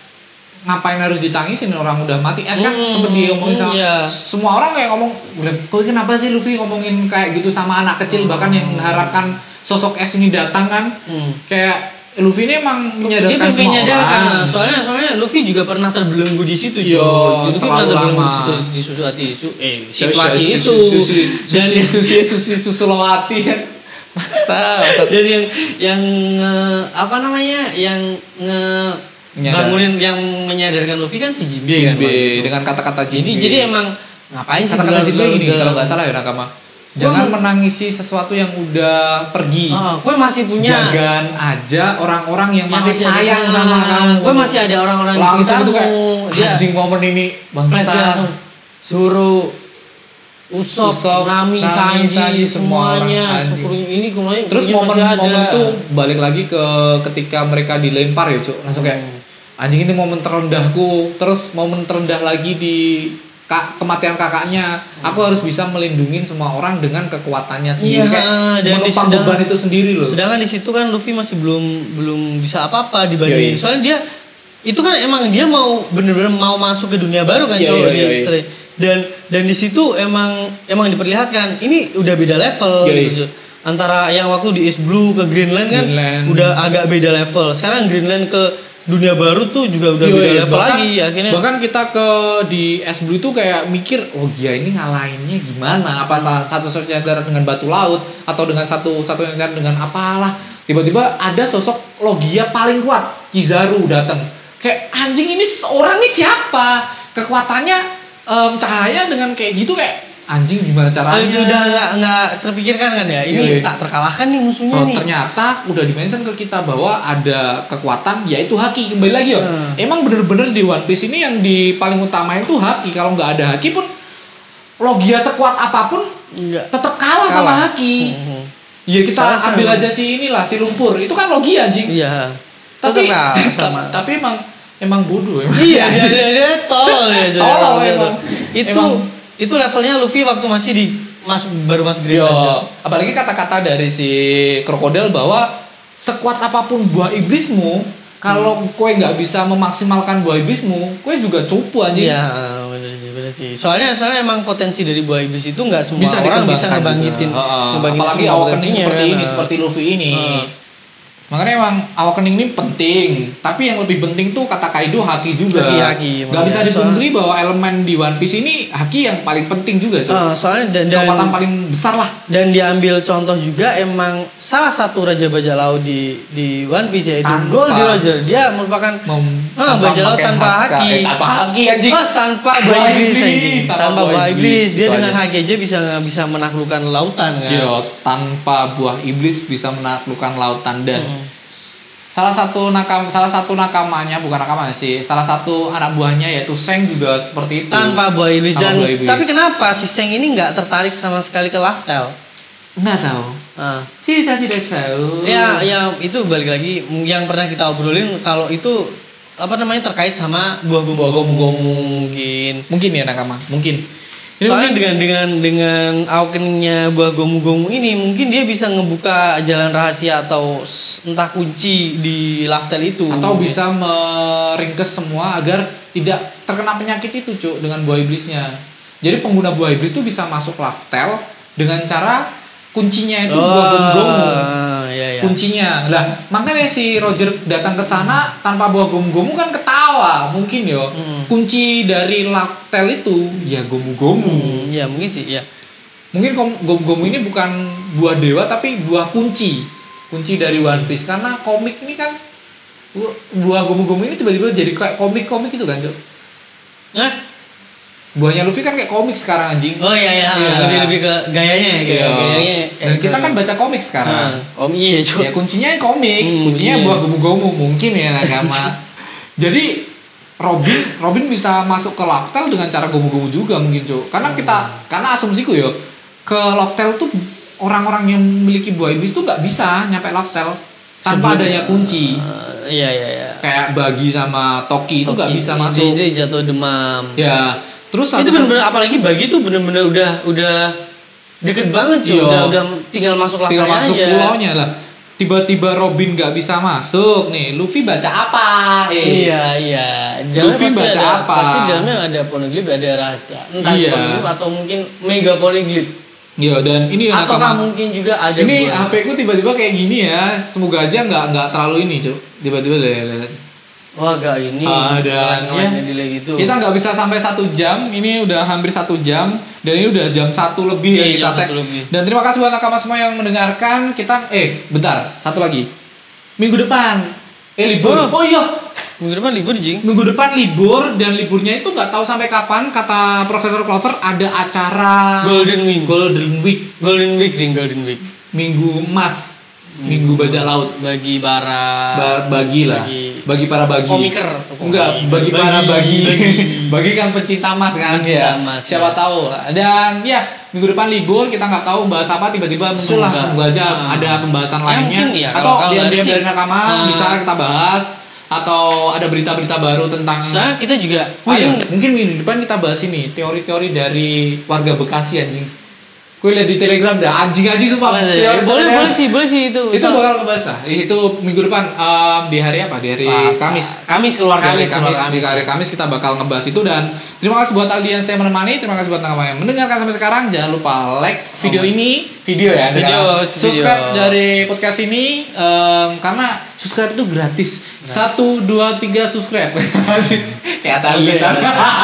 S3: ngapain harus ditangisin orang udah mati es kan
S2: Hmm,
S3: sempet diomongin sama
S2: iya.
S3: semua orang kayak ngomong "Lah, kok kenapa sih Luffy ngomongin kayak gitu sama anak kecil bahkan yang mengharapkan sosok es ini datang kan
S2: Hmm.
S3: kayak Luffy ini emang
S2: Dia ah,
S3: menyadarkan
S2: pengen
S3: semua
S2: nyadarkan.
S3: orang
S2: Soalnya soalnya Luffy juga pernah terbelenggu di situ.
S3: Iya,
S2: Jo. Luffy pernah
S3: terlalu
S2: terbelenggu di
S3: lama.
S2: situ di susu hati isu eh situasi itu. Dan
S3: dan susi susi susulawati kan masa
S2: dan yang yang nge- apa namanya yang nge
S3: Menyadar-
S2: bangunin yang menyadarkan Luffy kan si Jinbe kan. Bang?
S3: Jinbe dengan kata-kata
S2: Jadi
S3: Jinbe.
S2: jadi emang ngapain sih
S3: kata-kata Jinbe
S2: galau-galau-
S3: gini kalau
S2: galau-
S3: nggak salah ya nakama jangan menangisi sesuatu yang udah pergi
S2: Ah, gue masih punya
S3: jagan aja orang-orang yang
S2: yang
S3: masih
S2: ada
S3: sayang
S2: sana.
S3: sama kamu
S2: Gue masih ada orang-orang di
S3: langsung itu
S2: sekitarmu.
S3: kayak
S2: Dia
S3: anjing momen ini
S2: flashback langsung.
S3: bangsa
S2: Zoro, Usop,
S3: Usopp,
S2: Nami,
S3: Nami,
S2: Sanji,
S3: Sanji, semua
S2: semuanya,
S3: orang, anjing.
S2: Sukuru, ini kemudian
S3: terus
S2: kemudian masih ada.
S3: momen-momen tuh balik lagi ke ketika mereka dilempar ya cuk langsung kayak
S2: Hmm.
S3: anjing ini momen terendahku terus momen terendah lagi di ka- kematian kakaknya aku harus bisa melindungi semua orang dengan kekuatannya
S2: Hmm.
S3: sendiri
S2: Iya,
S3: kayak
S2: dan
S3: menopang
S2: disedang-
S3: beban itu sendiri loh
S2: Sedangkan di situ kan Luffy masih belum belum bisa apa-apa dibandingin.
S3: Yoi.
S2: Soalnya dia itu kan emang dia mau bener-bener mau masuk ke dunia baru kan
S3: Yoi,
S2: cowok
S3: yoi,
S2: di
S3: yoi.
S2: Stray. Dan dan di situ emang emang diperlihatkan ini udah beda level
S3: Yoi.
S2: gitu. Antara yang waktu di East Blue ke Greenland kan
S3: Greenland.
S2: udah agak beda level. Sekarang Greenland ke dunia baru tuh juga udah
S3: Iya,
S2: beda
S3: iya.
S2: level
S3: Bahkan-
S2: lagi akhirnya.
S3: bahkan kita ke di es blue tuh kayak mikir oh dia ini ngalahinnya gimana apa sa- satu satunya darat dengan batu laut atau dengan satu satunya darat dengan apalah tiba-tiba ada sosok logia paling kuat Kizaru datang kayak anjing ini seorang ini siapa kekuatannya em, cahaya dengan kayak gitu kayak anjing gimana caranya
S2: Aduh, Ah, udah nggak nggak terpikirkan kan ya ini
S3: Yoi.
S2: tak terkalahkan nih musuhnya
S3: Iya, Oh,
S2: Iya nih.
S3: ternyata udah dimention ke kita bahwa ada kekuatan yaitu haki kembali lagi ya.
S2: Hmm.
S3: Emang bener-bener di One Piece ini yang di paling utamain tuh haki. Kalau nggak ada haki pun logia sekuat apapun
S2: Nggak.
S3: tetap kalah, sama
S2: Kalah.
S3: haki.
S2: Mhm.
S3: Ya kita
S2: Salah
S3: ambil
S2: sama.
S3: aja si inilah si lumpur. Itu kan logia anjing.
S2: Iya.
S3: Tapi
S2: Tetap kalah sama.
S3: ta- tapi emang emang bodoh emang.
S2: Iya, dia,
S3: Si anjing.
S2: dia, dia tolol ya. jadi
S3: Tolol
S2: orang
S3: emang.
S2: gitu. Itu
S3: Emang.
S2: itu levelnya Luffy waktu masih di Mas baru Mas Green
S3: Yo,
S2: aja.
S3: apalagi kata-kata dari si krokodil bahwa sekuat apapun buah iblismu, kalau
S2: Hmm.
S3: kue nggak bisa memaksimalkan buah iblismu, kue juga cupu
S2: Iya,
S3: aja.
S2: bener sih, bener sih. Soalnya soalnya emang potensi dari buah iblis itu nggak semua
S3: Bisa
S2: orang bisa
S3: dikembangkan
S2: ngebangkitin,
S3: juga. Heeh,
S2: ngebangkitin
S3: apalagi
S2: semua
S3: awakening
S2: potensinya,
S3: seperti
S2: kan.
S3: ini, seperti Luffy ini.
S2: Heeh. Hmm.
S3: Makanya emang awakening ini penting, tapi yang lebih penting tuh kata Kaido haki juga.
S2: Haki, haki,
S3: Nggak
S2: makanya.
S3: bisa dipungkiri bahwa elemen di One Piece ini haki yang paling penting juga, cuy.
S2: Eh, soalnya dan dan,
S3: Kekuatan paling besar lah.
S2: dan diambil contoh juga emang salah satu raja bajak laut di di One Piece yaitu
S3: Tanpa-
S2: Goldie Roger. Dia merupakan
S3: Mem-
S2: Ah,
S3: tanpa
S2: bajak laut
S3: pakai
S2: tanpa
S3: haka.
S2: haki.
S3: Eh, tanpa haki anjing.
S2: Ah, tanpa buah
S3: Buah
S2: iblis,
S3: iblis,
S2: anjing.
S3: tanpa
S2: tanpa
S3: buah
S2: buah
S3: iblis,
S2: iblis. Dia
S3: itu
S2: dengan
S3: aja. Iya,
S2: haki aja bisa bisa menaklukkan lautan kan.
S3: Yo, tanpa buah iblis bisa menaklukkan lautan dan
S2: Hmm.
S3: salah satu nakam salah satu nakamanya bukan nakamanya sih salah satu anak buahnya yaitu Seng juga seperti itu
S2: Tanpa buah iblis
S3: Tanpa
S2: dan
S3: buah iblis.
S2: tapi kenapa si Seng ini nggak tertarik sama sekali ke Lahtel?
S3: nggak tahu
S2: Ah.
S3: tidak tidak tahu
S2: Ya, ya itu balik lagi yang pernah kita obrolin kalau itu apa namanya terkait sama buah gomu mungkin.
S3: mungkin ya nakama mungkin Ini
S2: Soalnya
S3: mungkin-
S2: dengan dengan dengan awakeningnya buah gomu-gomu ini mungkin dia bisa ngebuka jalan rahasia atau s- entah kunci di laftel itu.
S3: atau bisa meringkes semua agar tidak terkena penyakit itu cuk dengan buah iblisnya jadi pengguna buah iblis tuh bisa masuk laftel dengan cara kuncinya itu buah gomu
S2: Ah, iya, iya.
S3: kuncinya lah makanya si Roger datang ke sana tanpa bawa gomu-gomu kan ketawa mungkin yo
S2: Hmm.
S3: kunci dari laktel itu ya gomu-gomu
S2: Hmm, iya, mungkin sih ya.
S3: mungkin kom- Gom-Gom ini bukan buah dewa tapi buah kunci kunci dari One Piece karena komik ini kan bu- buah Gom-Gom ini tiba-tiba jadi kayak komik-komik gitu kan Cuk.
S2: Hah?
S3: buahnya Luffy kan kayak komik sekarang anjing
S2: Oh iya iya,
S3: Iya.
S2: lebih lebih ke gayanya ya, kayak
S3: Iya.
S2: gayanya.
S3: dan kita kan baca komik
S2: Nah,
S3: sekarang
S2: om iya cuy.
S3: ya kuncinya komik
S2: Hmm,
S3: kuncinya
S2: kuncinya.
S3: buah gomu-gomu mungkin ya agama jadi Robin Robin bisa masuk ke Locktel dengan cara gomu-gomu juga mungkin cuy
S2: Hmm.
S3: karena kita karena asumsiku yo ke Locktel tuh orang-orang yang memiliki buah iblis tuh nggak bisa nyampe Locktel
S2: Sebelum-
S3: tanpa adanya kunci
S2: Eh, iya iya iya.
S3: kayak bagi sama Toki itu
S2: Toki.
S3: nggak bisa
S2: Jadi-
S3: masuk
S2: Jadi jatuh demam.
S3: ya
S2: itu
S3: terus satu-
S2: bener-bener apalagi bagi tuh bener-bener udah udah deket banget cuy.
S3: Iya.
S2: Udah udah tinggal masuk lah
S3: tinggal masuk
S2: aja.
S3: pulaunya lah tiba-tiba Robin nggak bisa masuk nih Luffy baca apa Eh,
S2: Iya iya. Dalamnya
S3: Luffy
S2: pasti
S3: baca
S2: ada,
S3: apa?
S2: Pasti dalamnya ada polyglip ada rahasia. Entah
S3: Iya.
S2: polyglip atau mungkin mega polyglip.
S3: Iya dan ini yang
S2: Atau
S3: nggak kema-
S2: mungkin juga ada
S3: ini
S2: buah.
S3: HP ku tiba-tiba kayak gini ya. Semoga aja nggak nggak terlalu ini, Cuk. Tiba-tiba deh. deh.
S2: Wah gak ini
S3: Ah, dan
S2: Kawan-kawan
S3: ya.
S2: yang delay gitu
S3: Kita nggak bisa sampai satu jam. Ini udah hampir satu jam dan ini udah jam satu
S2: Iya,
S3: lebih ya kita
S2: jam
S3: tag.
S2: satu lebih.
S3: Dan terima kasih buat nakama semua yang mendengarkan. Kita eh bentar satu lagi. Minggu depan eh libur.
S2: Oh.
S3: Oh, iya.
S2: Minggu depan libur jing
S3: Minggu depan libur dan liburnya itu nggak tahu sampai kapan. Kata Profesor Clover ada acara
S2: Golden Week
S3: Golden Week
S2: Golden Week ding Golden Week
S3: Minggu Emas Minggu Bajak Laut.
S2: Bagi para
S3: Ba- bagi lah
S2: Bagi- Oh,
S3: bagi para bagi
S2: Komiker.
S3: enggak bagi,
S2: iya. Bagi.
S3: para bagi
S2: Bagi.
S3: bagi kan pencinta mas kan
S2: Pencinta
S3: ya
S2: emas, ya.
S3: siapa tahu dan ya minggu depan libur kita nggak tahu bahas apa tiba-tiba muncul lah
S2: Semoga.
S3: semoga aja
S2: Ah.
S3: ada pembahasan
S2: Ya,
S3: lainnya
S2: mungkin ya,
S3: atau
S2: kalau- kalau
S3: diam-diam
S2: dari
S3: dari
S2: si-
S3: nakama
S2: Ah.
S3: bisa kita bahas atau ada berita-berita baru tentang
S2: Soalnya kita juga
S3: Oh iya,
S2: paling
S3: mungkin minggu depan kita bahas ini teori-teori dari warga Bekasi anjing. Gue lihat di Telegram dah anjing-anjing sumpah.
S2: Boleh,
S3: Teori-
S2: boleh,
S3: teori-
S2: boleh sih, boleh sih itu.
S3: Iya, itu bakal kebahas lah. Itu minggu depan em, di hari apa? Di hari
S2: Selasa.
S3: Kamis.
S2: Kamis keluar
S3: Kamis,
S2: Kamis, keluar
S3: Kamis, di
S2: Kamis.
S3: hari Kamis kita bakal ngebahas itu dan terima kasih buat Aldi yang setia menemani, terima kasih buat teman yang mendengarkan sampai sekarang. Jangan lupa like video ini, video ya,
S2: Video,
S3: sekarang.
S2: video.
S3: subscribe dari podcast ini em, karena subscribe itu gratis. Satu, dua, tiga subscribe. Ya, Kayak tadi.
S2: Iya.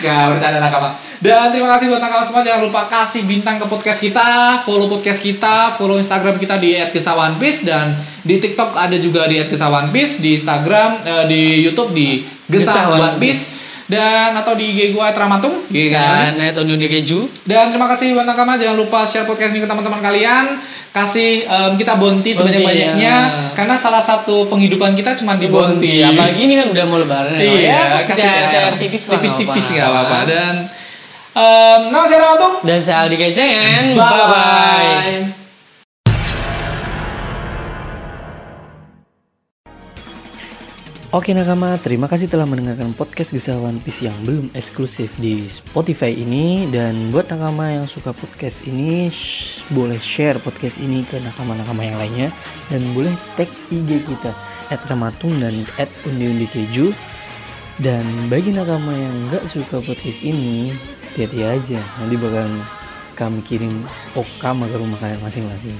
S3: Gak bercanda nakama. Dan terima kasih buat nakama semua. Jangan lupa kasih bintang ke podcast kita, follow podcast kita, follow Instagram kita di @kesawanpis dan di TikTok ada juga di @kesawanpis, di Instagram, eh, di YouTube di
S2: Gesah One
S3: Gesawanpis dan atau di IG gua Tramatung, IG kan?
S2: Dan Nah, Net Onio Keju.
S3: Dan terima kasih buat nakama. Jangan lupa share podcast ini ke teman-teman kalian. Kasih em, kita bonti
S2: Bonti,
S3: sebanyak-banyaknya
S2: ya.
S3: karena salah satu penghidupan kita cuma di bonti.
S2: Apalagi ini kan udah mau lebaran. ya.
S3: Iya,
S2: Ya, pasti
S3: kasih
S2: ada-
S3: dia.
S2: ada yang tipis lah,
S3: tipis-tipis
S2: nggak
S3: nggak
S2: apa-apa.
S3: apa-apa. Dan em, nama saya Ramatung.
S2: Dan saya Aldi Kecengan.
S3: Bye
S2: Bye-bye.
S3: bye.
S4: Oke nakama, terima kasih telah mendengarkan podcast Gesah One Piece yang belum eksklusif di Spotify ini dan buat nakama yang suka podcast ini shh, boleh share podcast ini ke nakama-nakama yang lainnya dan boleh tag IG kita @ramatung dan @undiundikeju dan bagi nakama yang nggak suka podcast ini hati-hati aja nanti bakalan kami kirim okama ke rumah kalian masing-masing.